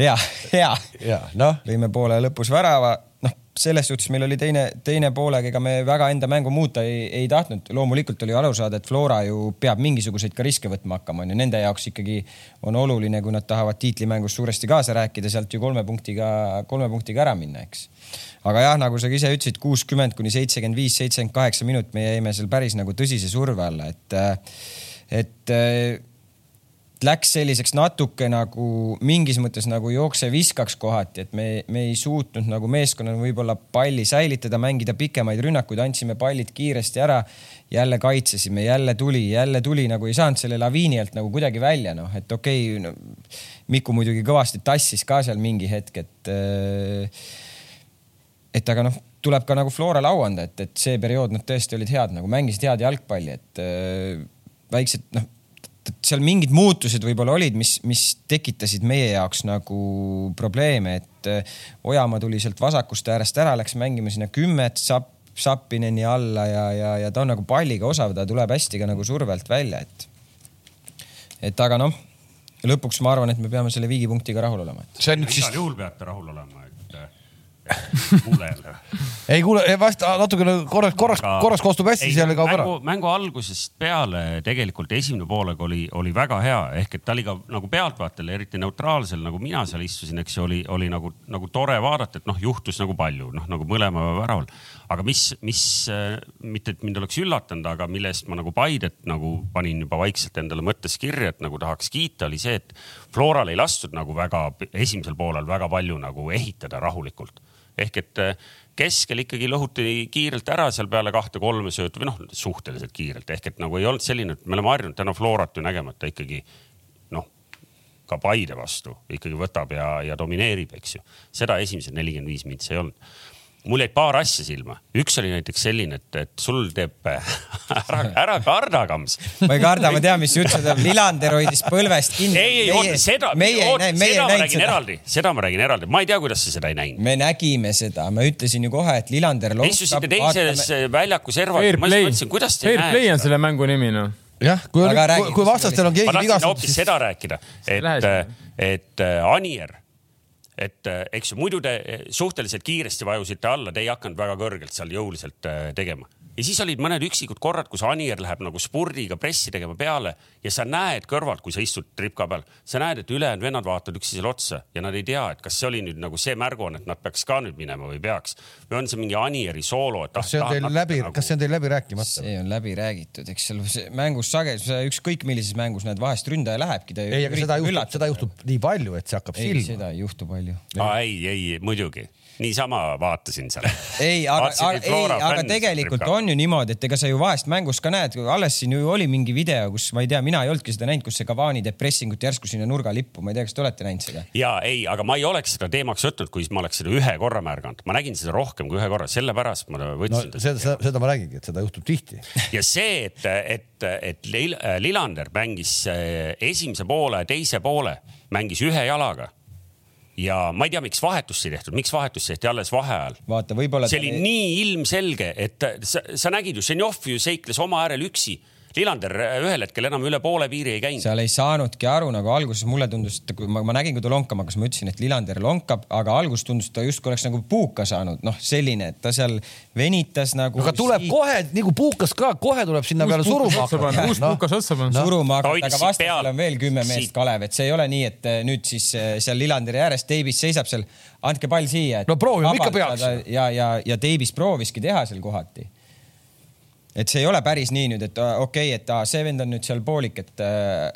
C: hea , hea .
A: ja noh ,
C: lõime poole lõpus värava , noh , selles suhtes meil oli teine , teine poolega , ega me väga enda mängu muuta ei, ei tahtnud . loomulikult oli aru saada , et Flora ju peab mingisuguseid ka riske võtma hakkama , on ju . Nende jaoks ikkagi on oluline , kui nad tahavad tiitlimängus suuresti kaasa rääkida , sealt ju kolme punktiga , kolme punktiga ära minna , eks . aga jah , nagu sa ka ise ütlesid , kuuskümmend kuni seitsekümmend viis , seitsekümmend kaheksa minut , me jäime seal päris nagu tõsise surve alla , et , et läks selliseks natuke nagu mingis mõttes nagu jookse-viskaks kohati , et me , me ei suutnud nagu meeskonnana võib-olla palli säilitada , mängida pikemaid rünnakuid , andsime pallid kiiresti ära . jälle kaitsesime , jälle tuli , jälle tuli , nagu ei saanud selle laviini alt nagu kuidagi välja , noh , et okei okay, no, . Miku muidugi kõvasti tassis ka seal mingi hetk , et äh, et aga noh , tuleb ka nagu Flora au anda , et , et see periood nad tõesti olid head nagu mängisid head jalgpalli , et äh, väiksed noh , seal mingid muutused võib-olla olid , mis , mis tekitasid meie jaoks nagu probleeme , et äh, Ojamaa tuli sealt vasakust äärest ära , läks mängima sinna kümmet , sapp , sappineni alla ja , ja , ja ta on nagu palliga osav , ta tuleb hästi ka nagu survelt välja , et et aga noh , lõpuks ma arvan , et me peame selle viigipunktiga rahul olema , et
A: see on üks siis
B: igal juhul peate rahul olema , et äh, kuulajale . *laughs*
A: ei kuule , vasta nagu natukene korraks , korraks , korraks kostub hästi , see oli kaob ära .
B: mängu, mängu algusest peale tegelikult esimene poolega oli , oli väga hea , ehk et ta oli ka nagu pealtvaatajal , eriti neutraalsel , nagu mina seal istusin , eks ju , oli , oli nagu , nagu tore vaadata , et noh , juhtus nagu palju , noh nagu mõlema väraval . aga mis , mis , mitte et mind oleks üllatanud , aga millest ma nagu Paidet nagu panin juba vaikselt endale mõttes kirja , et nagu tahaks kiita , oli see , et Floral ei lastud nagu väga esimesel poolel väga palju nagu ehitada rahulikult ehk et äh, keskel ikkagi lõhuti kiirelt ära seal peale kahte-kolme söötu või noh , suhteliselt kiirelt ehk et nagu ei olnud selline , et me oleme harjunud täna Florat ju nägema , et ta ikkagi noh , ka Paide vastu ikkagi võtab ja , ja domineerib , eks ju . seda esimesed nelikümmend viis mintsi ei olnud . mul jäid paar asja silma , üks oli näiteks selline , et , et sul teeb *laughs* ära , ära karda , Kams
C: ma ei karda , ma tean , mis jutt see tuleb . Lillander hoidis põlvest kinni .
B: ei , ei , oota seda ,
C: meie ei
B: oota
C: näinud ,
B: seda
C: meie ei
B: ma
C: näinud
B: räägin
C: seda .
B: eraldi , seda ma räägin eraldi , ma ei tea , kuidas sa seda ei näinud .
C: me nägime seda , ma ütlesin ju kohe , et Lillander
B: Te istusite teises
C: lonkab .
B: väljaku servas ,
D: fair
B: ma just
D: play ,
B: mõtlesin , kuidas te ei
D: fair play
B: näe
D: on . selle mängu nimi noh .
A: jah , kui on
C: Aga , räägi,
A: kui
C: kus
A: vastastel on
B: ma
A: keegi
B: tahtsin hoopis
A: vigastatud ,
B: seda rääkida , et
D: Lähes. ,
B: et äh, Anier , et äh, eks ju , muidu te äh, suhteliselt kiiresti vajusite alla , te ei hakanud väga kõrgelt seal jõuliselt äh, tegema . ja siis olid mõned üksikud korrad , kus Anier läheb nagu spurdiga pressi tegema peale ja sa näed kõrvalt , kui sa istud tripka peal , sa näed , et ülejäänud vennad vaatavad üksteisele otsa ja nad ei tea , et kas see oli nüüd nagu see märguanne , et nad peaks ka nüüd minema või ei peaks või on see mingi Anieri soolo , et ah,
A: kas see on
B: tahad
A: teil
B: natuke
A: läbi , kas see on teil läbi rääkimata ?
C: see on läbi räägitud , eks seal see- mängus sageli , sa ükskõik millises mängus näed , vahest ründaja lähebki .
A: ei , aga seda juhtub , seda . juhtub nii palju , et see hakkab
C: ei ,
A: silma .
C: seda ei juhtu palju .
B: Aa, ei , ei muidugi , niisama vaatasin seal .
C: *laughs* ei , aga , ei , aga tegelikult . on ju niimoodi , et ega sa ju vahest mängus ka näed , alles siin ju oli mingi video , kus ma ei tea , mina ei olnudki seda näinud , kus see Cavani teeb pressingut järsku sinna nurga lippu , ma ei tea , kas te olete näinud seda ?
B: ja ei , aga ma ei oleks seda teemaks võtnud , kui ma oleks seda ühe korra märganud , ma nägin seda rohkem kui ühe korra , sellepärast ma
A: no
B: võtsin no,
A: seda , seda , seda ma räägingi , et seda juhtub tihti .
B: ja see , et , et , et Lil- Lillander mängis äh, esimese poole , teise poole , mängis ühe jalaga ja ma ei tea , miks vahetust ei tehtud , miks vahetust tehti alles vaheajal
C: vaata , võib-olla .
B: see oli nii ilmselge , et sa, sa nägid ju , Ženjov ju seikles oma äärel üksi , Lillander ühel hetkel enam üle poole piiri ei käinud .
C: seal ei saanudki aru , nagu alguses mulle tundus , et kui ma, ma nägin , kui ta lonkama hakkas , ma ütlesin , et Lillander lonkab , aga alguses tundus , et ta justkui oleks nagu puuka saanud , noh , selline , et ta seal venitas nagu .
A: aga tuleb kohe nagu puukas ka , kohe tuleb sinna peale suruma
D: otsa panna , uus
A: Noh,
D: pukas otsa panna .
C: suruma
B: Ta
C: hakata ,
B: hoidis
C: aga
B: siit
C: vastasel
B: peal.
C: on veel kümme meest ,
B: Siit.
C: Kalev , et see ei ole nii , et eh, nüüd siis eh, seal Lillanderi ääres teibis seisab seal , andke pall siia .
A: No proovime, ikka peaks. .
C: ja , ja , ja teibis prooviski teha seal kohati . et see ei ole päris nii nüüd , et ah, okei okay, , et ah, see vend on nüüd seal poolik , et eh,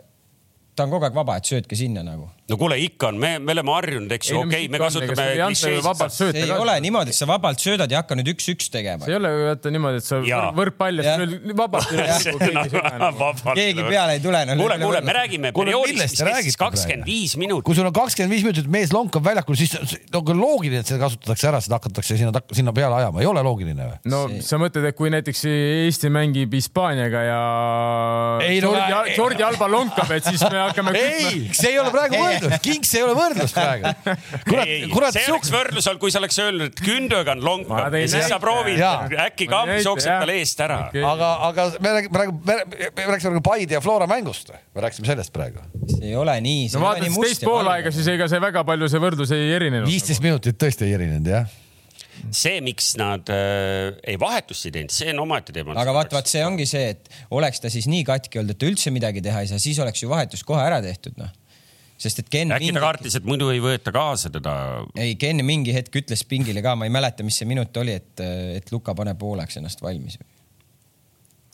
C: ta on kogu aeg vaba , et söötke sinna nagu .
B: no kuule , ikka on , me , me oleme harjunud , eks ju , okei , me kasutame klišeid .
D: klišeid .
C: see ei ole niimoodi , et sa vabalt söödad ja hakka nüüd üks-üks tegema
D: see . ei ole ju vaata niimoodi , et sa
B: Jaa.
D: võrkpalli
C: Jah.
D: lööd vabalt üle
B: *laughs*
D: kokku *laughs* keegi ei sööda enam.
C: Keegi peale ei tule, no
B: kuule ,
C: lööme
B: kuule ,
C: võrra.
B: me räägime
A: Kuule, millest
B: perioodist ,
A: te
B: mis kestis
A: räägite
B: kakskümmend viis minutit .
A: kui sul on kakskümmend viis minutit , mees lonkab väljakul , siis on küll loogiline , et seda kasutatakse ära , seda hakatakse sinna , sinna peale ajama , ei ole loogiline või ?
D: no sa mõtled , et kui näiteks Eesti mängib Hispaaniaga ja
A: Ei, no
D: Jordi,
A: ma-
D: Al- Jordi Alba lonkab , et siis me hakkame
C: *laughs*
A: ei , see ei ole praegu võrdlus , Kings ei ole võrdlus *laughs* praegu . kurat
B: ei , ei ,
A: kurat
B: see , oleks võrdlus olnud , kui sa oleks öelnud , et Gündogan
D: Ma
B: lonkab
D: tõin
B: ja siis sa
D: näite.
B: proovid
A: Jaa. ,
B: äkki kaamel jookseb tal eest ära .
A: aga , aga me räägime praegu , me me rääkisime praegu Paide ja Flora mängust , me rääkisime sellest praegu .
C: see ei ole nii .
D: no vaadates teist poolaega , siis ega see väga palju , see võrdlus ei erinenud .
A: viisteist minutit tõesti ei erinenud jah .
B: see , miks nad äh, ei vahetust ei teinud , see on omaette teema .
C: aga vaat , vaat see ongi see , et oleks ta siis nii katki olnud , et ta üldse midagi teha ei saa , siis oleks ju vahetus kohe ära tehtud , noh . sest et Ken
B: äkki ta
C: mingi ,
B: kartis , et muidu ei võeta kaasa teda .
C: ei Ken mingi hetk ütles pingile ka , ma ei mäleta , mis see minut oli , et , et Luka paneb pooleks ennast valmis .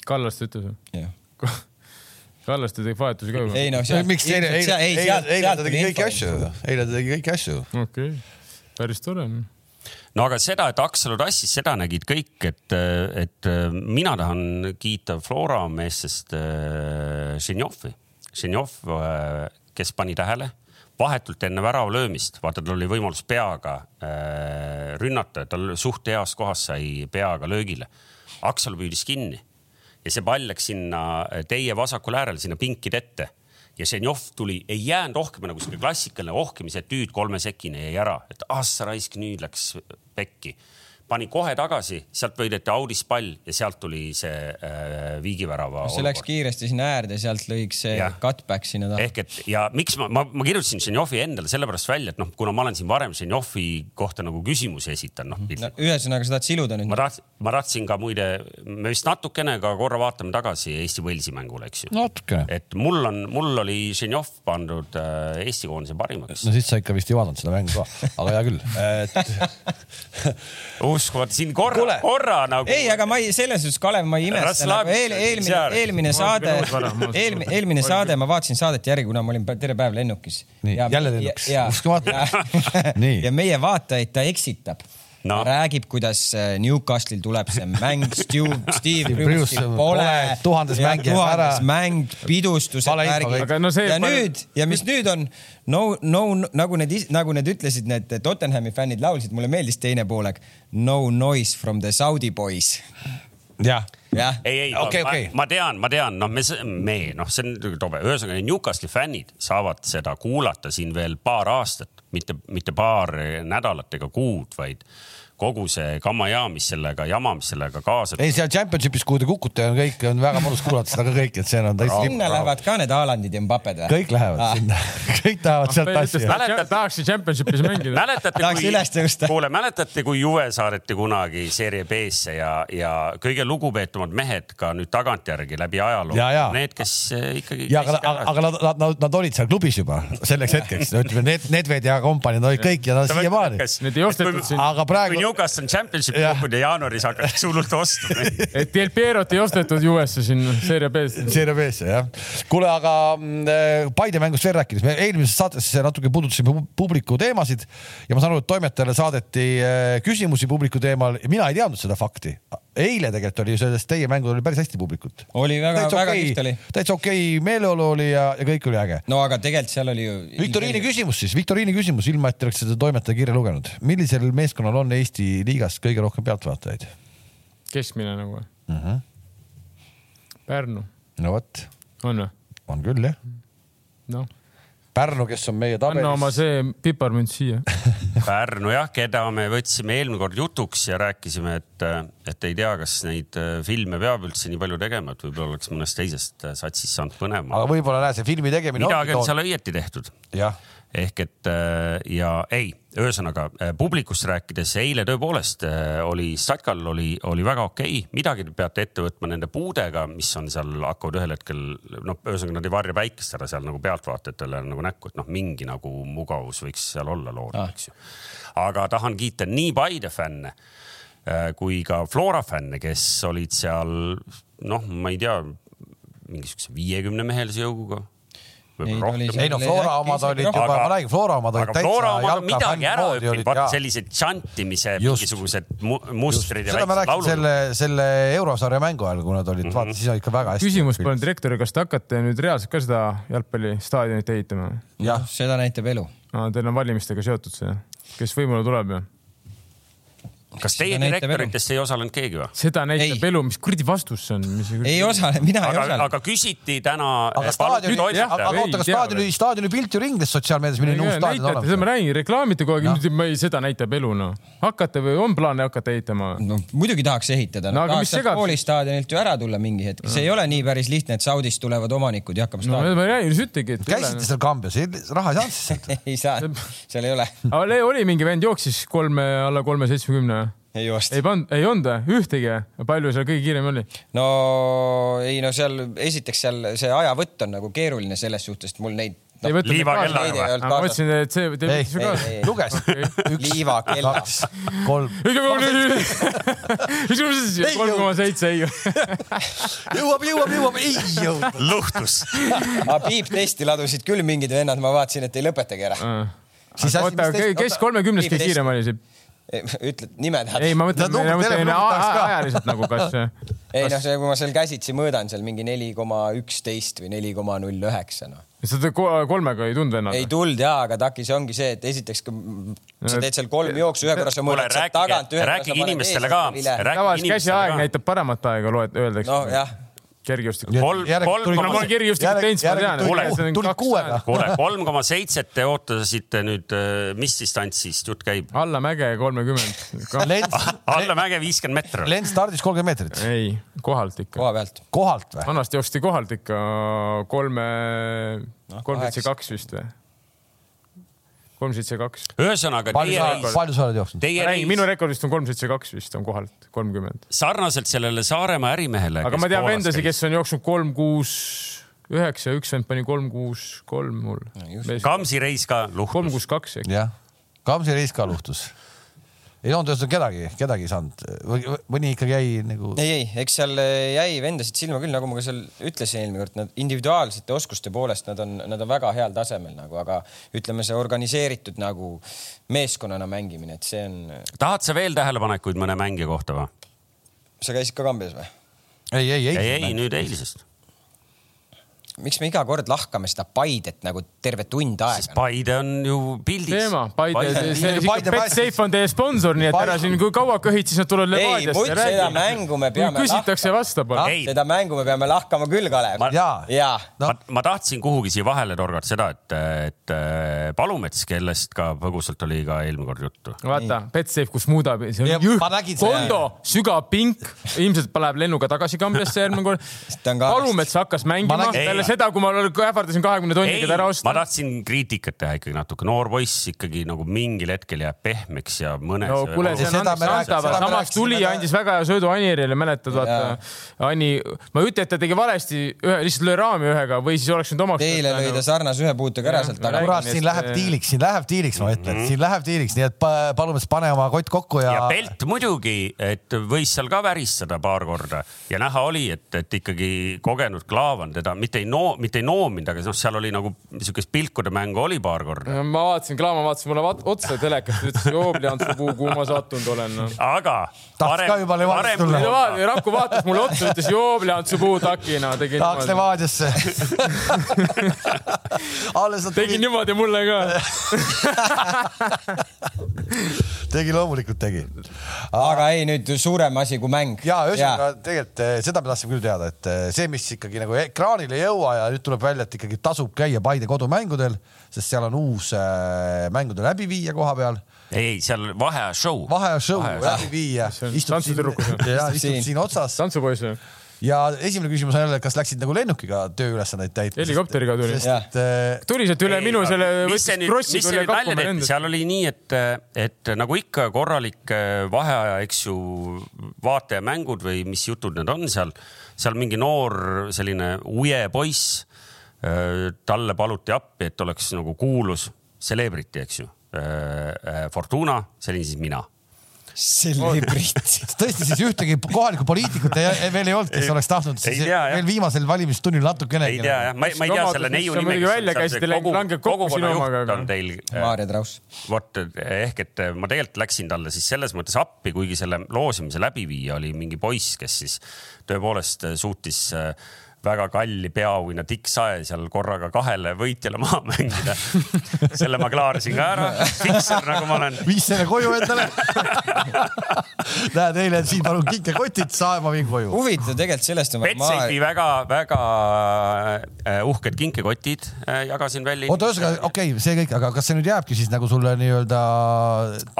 D: Kallaste ütles ju .
C: jah .
D: *laughs* Kallaste teeb vahetusi ka ju .
C: ei noh , seal .
A: miks eile , eile , eile , eile ta tegi kõiki asju , eile ta tegi kõiki asju .
D: okei , päris tore . noh.
B: no aga seda , et Akselu tassis , seda nägid kõik , et , et mina tahan kiita Flora meestest äh, Žinjovi . Žinjov , kes pani tähele vahetult enne värava löömist , vaata , tal oli võimalus peaga äh, rünnata , tal suht heas kohas sai peaga löögile . Aksel püüdis kinni ja see pall läks sinna äh, teie vasakul äärel , sinna pinkide ette ja Ženjov tuli , ei jäänud ohkima nagu selline klassikaline ohkimise tüüd kolmesekine jäi ära , et ah sa raisk , nüüd läks äh, pekki . pani kohe tagasi , sealt võideti Audis pall ja sealt tuli see äh, viigivärava .
C: see läks kiiresti sinna äärde , sealt lõiks see
B: Jah.
C: cutback sinna taha .
B: ehk et ja miks ma , ma , ma kirjutasin Ženjovi endale sellepärast välja , et noh , kuna ma olen siin varem Ženjovi kohta nagu küsimusi esitanud , noh
C: no
B: piltlikult
C: ühesõnaga , sa tahad siluda nüüd
B: ma ? tahtsin , ma tahtsin ka muide , me vist natukene ka korra vaatame tagasi Eesti Walesi mängule , eks ju .
A: natukene .
B: et mul on , mul oli Ženjov pandud äh, Eesti koondise parimaks
A: no . siis sa ikka vist ei vaadanud seda mängu ka , aga hea küll , et
B: uskumatu , siin korra , korra nagu .
C: ei , aga ma ei , selles suhtes , Kalev , ma ei imesta
B: Raslav-
C: nagu eel, . eelmine
B: Saar. ,
C: eelmine saade
D: olin kodus vara, ma , olen
C: eelmine , eelmine saade , ma vaatasin saadet järgi , kuna ma olin pä- terve päev lennukis .
A: Nii, jälle lennukis. Uskumatu. *laughs* Nii.
C: ja meie vaatajaid ta eksitab
B: No.
C: no. . räägib , kuidas äh, Newcastle'il tuleb see mäng , Steve , Steve
A: Bruce'i
C: Bruce'i
A: pole,
C: pole .
A: tuhandes mäng jääb ära.
C: mäng , pidustused ,
A: Vale info
C: värgid .
A: kõik.
D: Aga no see
C: ja
D: pal-
C: nüüd ja mis nüüd on , no , no nagu need , nagu need ütlesid , need Tottenhami fännid laulsid , mulle meeldis teine poolek . No noise from the Saudi boys .
A: *laughs* jah ,
C: jah ,
B: ei , ei
A: Okei,
B: ma,
A: okei.
B: ma tean , ma tean , noh , me , me , noh , see on muidugi tobe , ühesõnaga need Newcastli fännid saavad seda kuulata siin veel paar aastat , mitte , mitte paar nädalat ega kuud , vaid kogu see kamajaam , mis sellega , jama , mis sellega kaasa
A: ei seal Championship'is , kuhu te kukute , on kõik , on väga mõnus kuulata seda ka kõik , et see on täitsa
C: sinna lähevad ka need Haalandid ja Mbapped või ? Ah,
A: kõik lähevad sinna , *laughs* kõik tahavad sealt asja .
B: Mäletad-
D: tahaksin championship'is mängida .
B: *laughs* mäletate ,
C: Tahaks üles tõusta.
B: kui , kuule , mäletate , kui Juve saadeti kunagi Serie B-sse ja , ja kõige lugupeetumad mehed ka nüüd tagantjärgi läbi ajaloo
A: Ja, ja. ,
B: need , kes eh, ikkagi .
A: ja aga , aga, aga nad, nad- nad , nad olid seal klubis juba selleks hetkeks , ütleme need , Nedved ja kompanii , nad olid kõik ja nad siiamaani .
D: Need ei ostetud siin.
A: Aga praegu-
B: kui Newcastle on championship'i
A: Jah.
B: kukkunud ja jaanuaris hakatakse hullult
A: *laughs*
B: ostma .
D: et Del Pierot ei ostetud USA sinna Serie B-sse .
A: Seeria B-sse jah . kuule , aga mm, Paide mängust veel rääkides , me eelmises saates natuke puudutasime pu- publiku teemasid ja ma saan aru , et toimetajale saadeti eh, küsimusi publiku teemal ja mina ei teadnud seda fakti . eile tegelikult oli sellest teie mängul oli päris hästi publikut .
C: oli väga ,
A: täitsa
C: väga
A: okei
C: kihvt oli .,
A: täitsa okei meeleolu oli ja , ja kõik oli äge .
C: no aga tegelikult seal oli ju .
A: viktoriini . küsimus siis , viktoriini küsimus , ilma et te oleks seda toimetaja kirja lugenud . millisel meeskonnal on Eesti liigas kõige rohkem pealtvaatajaid ?
D: keskmine nagu või uh -huh. ? Pärnu ,
A: no vot ,
D: on või ?
A: on küll jah .
D: noh ,
A: Pärnu , kes on meie
D: anna oma
A: tabelis ,
D: see piparmünt siia .
B: Pärnu jah , keda me võtsime eelmine kord jutuks ja rääkisime , et , et ei tea , kas neid äh, filme peab üldse nii palju tegema , et võib-olla oleks mõnest teisest äh, satsist saanud põnema .
A: aga võib-olla näed , see filmi tegemine .
B: midagi on seal õieti tehtud
A: jah ,
B: ehk et äh, ja ei , ühesõnaga äh, publikust rääkides eile tõepoolest äh, oli Statkal oli , oli väga okei okay. , midagi te peate ette võtma nende puudega , mis on seal , hakkavad ühel hetkel , noh , ühesõnaga nad ei varja päikest ära seal nagu pealtvaatajatele nagu näkku , et noh , mingi nagu mugavus võiks seal olla loodud ah. , eks ju . aga tahan kiita nii Paide fänne äh, kui ka Flora fänne , kes olid seal noh , ma ei tea , mingisuguse viiekümne mehelise jõuguga .
C: Neid oli seal-
A: ei no Flora omad olid juba , ma räägin , Flora omad olid
B: aga Flora omad
A: jalka-
B: on midagi ära
A: moodi olid,
B: õppinud , vaata
A: jaa.
B: sellised džantimise
A: Just.
B: mingisugused mu mustrid ja
A: seda ma rääkisin
B: väiksed laulud .
A: selle , selle eurosarja mängu ajal , kui nad olid mm , -hmm. vaata siis olid ka väga hästi .
D: küsimus palun . direktorile , kas te hakkate nüüd reaalselt ka seda jalgpallistaadionit ehitama ?
A: jah ,
C: seda näitab elu .
D: Teil on valimistega seotud see , kes võimule tuleb ja ?
B: kas teie
C: Seda näitab
B: direktoritest ei osalenud keegi või ?
D: seda näitab
C: Ei.
D: elu , mis kuradi vastus see on , mis .
C: ei osale , mina ei
B: aga ,
C: osale .
B: aga küsiti täna . eh,
A: aga staadioni , aga
D: jah,
A: oota ,
D: ei
A: aga
D: tea
A: staadioni , staadioni pilt ju ringles sotsiaalmeedias , milline uus staadion Noh.
D: näitate , seda
A: olemas
D: ma räägin , reklaamite kogu aeg , ma ei , seda näitab elu noh . hakkate või on plaane hakata ehitama ?
C: no muidugi tahaks ehitada
D: No
C: no, ,
D: aga mis
C: tahaks sealt
D: segab-
C: koolistaadionilt ju ära tulla mingi hetk , see ei ole nii päris lihtne , et Saudist tulevad omanikud ja hakkame
D: no ma
C: staadioni
D: ma räägin , siis ütlegi , et . noh.
A: käisite seal Kambjas , raha ei saanud siis sealt .
C: no, . *laughs* ei saa , seal ei ole ,
D: aga le- oli mingi vend jooksis kolme , alla kolme seitsmekümne ?
C: ei joosta
D: ei . pannud , ei olnud või ? ühtegi ? palju seal kõige kiirem oli ?
C: no ei no seal esiteks seal see ajavõtt on nagu keeruline selles suhtes , et mul neid
D: Ei
C: no,
D: võtnud
B: liivakella
C: kaasa.
B: või ?
D: ma mõtlesin , et see teeb
A: ei ,
D: üks
A: ei ,
D: ka .
A: ei , luges .
C: Liiva kella.
A: kaks , kolm . Ei
D: kolm koma seitse , ei .
A: jõuab , jõuab , jõuab , ei jõudnud .
B: luhtus .
A: *laughs*
C: aga piiptesti ladusid küll mingid vennad , ma vaatasin , et ei lõpetagi ära .
A: Siis asi,
D: oota
A: mis teist- ,
D: kes
A: oota,
D: kolmekümnes kõige
C: viieteist-
D: kiirem oli see ?
C: ütled nimed
D: ei , ma mõtlen ,
A: Nad numbrid
D: ma mõtlen
A: telefonid
D: a-
A: tahaks
D: a-
A: ka.
D: ajaliselt nagu kas .
C: ei noh , see , kui ma seal käsitsi mõõdan seal mingi neli koma üksteist või neli koma null üheksa noh .
D: seda ko- kolmega ei tundnud
C: ei
D: ennast .
C: tulnud jaa , aga takis ongi see , et esiteks , kui sa teed seal kolm jooksu , ühe korra sa
B: kuule ,
C: mõõdad sealt tagant ,
B: rääkige ,
C: ühe korra sa
B: rääkige
C: paned
B: inimestele ka .
D: tavaliselt käsiaeg . näitab paremat aega , loed , öeldakse
C: noh . jah ,
D: kergejõustik .
B: kolm , kolm
D: no ma olen kergejõustikku teinud , siis ma tean .
B: tuli-
A: tulid kuuega .
B: kuule , kolm koma seitset te ootasite nüüd , mis distantsist jutt
A: *laughs*
B: käib ?
D: alla mäge kolmekümmend .
A: lend ,
B: alla mäge viiskümmend meetrit .
A: lend stardis kolmkümmend meetrit .
D: ei , kohalt ikka .
C: koha pealt .
A: kohalt või ?
D: vanasti joosti kohalt ikka kolme , kolm
C: Noh, kaheksa.
D: seitse kaks vist või ? kolm seitse kaks .
B: ühesõnaga ,
A: palju
B: teie
A: sa ,
B: reis ,
A: palju sa oled jooksnud ?
B: teie
D: räägi , minu
B: reis
D: rekordist on kolm seitse kaks vist on kohalt , kolmkümmend .
B: sarnaselt sellele Saaremaa ärimehele .
D: aga ma tean vendasid , kes on jooksnud kolm , kuus , üheksa , üks vend pani kolm , kuus , kolm mul .
B: Kamsi reis ka
D: kolm ,
B: luhtus .
D: kuus , kaks .
A: jah , Kamsi reis ka luhtus . ei olnud ühesõnaga kedagi , kedagi ei saanud või või- mõni ikkagi jäi nagu .
C: ei , ei , eks seal eh, jäi vendasid silma küll , nagu ma ka seal ütlesin eelmine kord , nad individuaalsete oskuste poolest nad on , nad on väga heal tasemel nagu , aga ütleme , see organiseeritud nagu meeskonnana mängimine , et see on ,
B: tahad sa veel tähelepanekuid mõne mängija kohta või ?
C: sa käisid ka Kambjas või ?
A: ei , ei , ei .
B: ei , ei , nüüd eilsest .
C: miks me iga kord lahkame seda Paidet nagu terve tund
B: sest
C: aega ?
B: Paide on ju pildis .
D: teema , Paide , see , see
A: Paide-
D: isegi Betsafe on teie sponsor , nii et ära siin , kui kaua köhid , siis nad tulevad
C: Ei,
D: Levadiasse
C: muid-
D: ja
C: seda
D: räägivad .
C: mängu me peame
D: kui küsitakse , vasta palun .
B: ei ,
C: seda mängu me peame lahkama küll , Kalev .
A: jaa .
C: jaa ,
B: no.
A: no
B: ma, ma tahtsin kuhugi siia vahele torgata seda , et , et äh, Palumets , kellest ka põgusalt oli ka eelmine kord juttu .
D: vaata , Betsafe , kus muudab , see
A: Ja
D: on jõhk
A: ma nägin , seda.
D: kondo , sügav pink , ilmselt läheb lennuga tagasi Kambjasse järgmine kord .
C: ta on ka-
D: Palumets hakkas mängima
A: nägin-
D: peale seda , kui ma ähvardasin kahekümne
B: ei
D: tonniga , ta ära
B: ma
D: osta .
B: tahtsin kriitikat teha ikkagi natuke , noor poiss ikkagi nagu mingil hetkel jääb pehmeks ja mõnes
D: no kuule , see
A: seda
D: on
A: me
D: andeks
A: rääkisime-
D: antava ,
A: seda me
D: samas
A: rääkisime
D: tuli
A: ka-
D: ja andis väga hea söödu Anirile , mäletad , vaata . Ani , ma ei ütle , et ta tegi valesti , ühe , lihtsalt lõi raami ühega või siis oleks nüüd omaks .
C: teile lõi ta sarnase ühe puutega ära
D: Jah,
C: sealt ,
D: räägi.
C: aga
A: kurat , siin
B: äh,
A: läheb diiliks , siin läheb diiliks , ma ütlen , siin läheb diiliks , nii et pa- palume siis pane oma kott kokku ja,
B: Mhm. ja Pelt muidugi , et võis seal ka väristada paar korda ja näha oli , et , et ikkagi kogenud klaavan teda mitte ei noo- , mitte ei noominud , aga noh , seal oli nagu niisugust pilkude mängu oli paar korda .
D: ma vaatasin , Klaama vaatas mulle vaat- otsa telekast , ütles , et joo , Leandro Puu , kuhu ma sattunud olen no. .
B: aga .
A: Tahaks Mm. ka juba Levadiasse tulla.
D: ja vaat- ja Raku vaatas mulle otsa , ütles joo , Leandro Puu takina , tegin
A: tahaks
B: *laughs*
D: niimoodi ,
A: Levadiasse . alles nad
D: tegin *laughs*
A: tulid ,
D: niimoodi mulle ka .
A: tegi , loomulikult tegi .
C: aga ei , nüüd suurem asi kui mäng .
A: ja ühesõnaga tegelikult eh, seda me tahtsime küll teada , et eh, see , mis ikkagi nagu ekraanile ei jõua ja nüüd tuleb välja , et ikkagi tasub käia Paide kodumängudel , sest seal on uus eh, mängude läbiviija koha peal ,
B: ei , seal vaheaja show .
A: vaheaja-show läbiviija
D: See on
A: istub siin
D: tantsutüdrukud. ,
A: istub siin otsas
D: tantsupoiss või ?
A: ja esimene küsimus on jälle , kas läksid nagu lennukiga tööülesandeid täitma ?
D: Helikopteriga tuli.
A: sest et, eh,
D: tuli sealt üle minu selle ,
B: mis see
D: võttis
B: nüüd , mis
D: krossi
B: see
D: üle
B: nüüd
D: kappama
B: välja tehti ,
D: lendas .
B: seal oli nii , et , et nagu ikka korralik äh, vaheaja , eks ju , vaatajamängud või mis jutud need on seal , seal mingi noor selline uje poiss , talle paluti appi , et oleks nagu kuulus celebrity , eks ju , Fortuna , see olin siis mina .
A: *laughs*
C: Celebrity .
A: tõesti siis ühtegi kohalikku poliitikut ei, ei- veel ei olnud , kes oleks tahtnud
B: Ei
A: siis
B: tea, jah.
A: veel viimasel valimistunnil
B: ei tea
A: natukene .
B: jah , ma ei , ma ei tea
D: Omadus,
B: selle
D: mis
B: neiu
D: sa
B: nime .
D: muidugi välja käisid, langeb kokku sinu omaga, aga-
B: on teil äh,
C: Maarja Traus .
B: vot ehk et ma tegelikult läksin talle siis selles mõttes appi , kuigi selle loosimise läbiviija oli mingi poiss , kes siis tõepoolest suutis äh, väga kalli peauina Dick Sae seal korraga kahele võitjale maha mängida . selle ma klaarisin ka ära , fikser nagu ma olen .
A: viis selle koju endale . *laughs* näed , eile siin palun kinkekotid , saa ma viin koju .
C: huvitav tegelikult sellest on .
B: Betsafe'i väga-väga äh, uhked kinkekotid äh, jagasin välja .
A: oota , ühesõnaga , okei okay, , see kõik , aga kas see nüüd jääbki siis nagu sulle nii-öelda .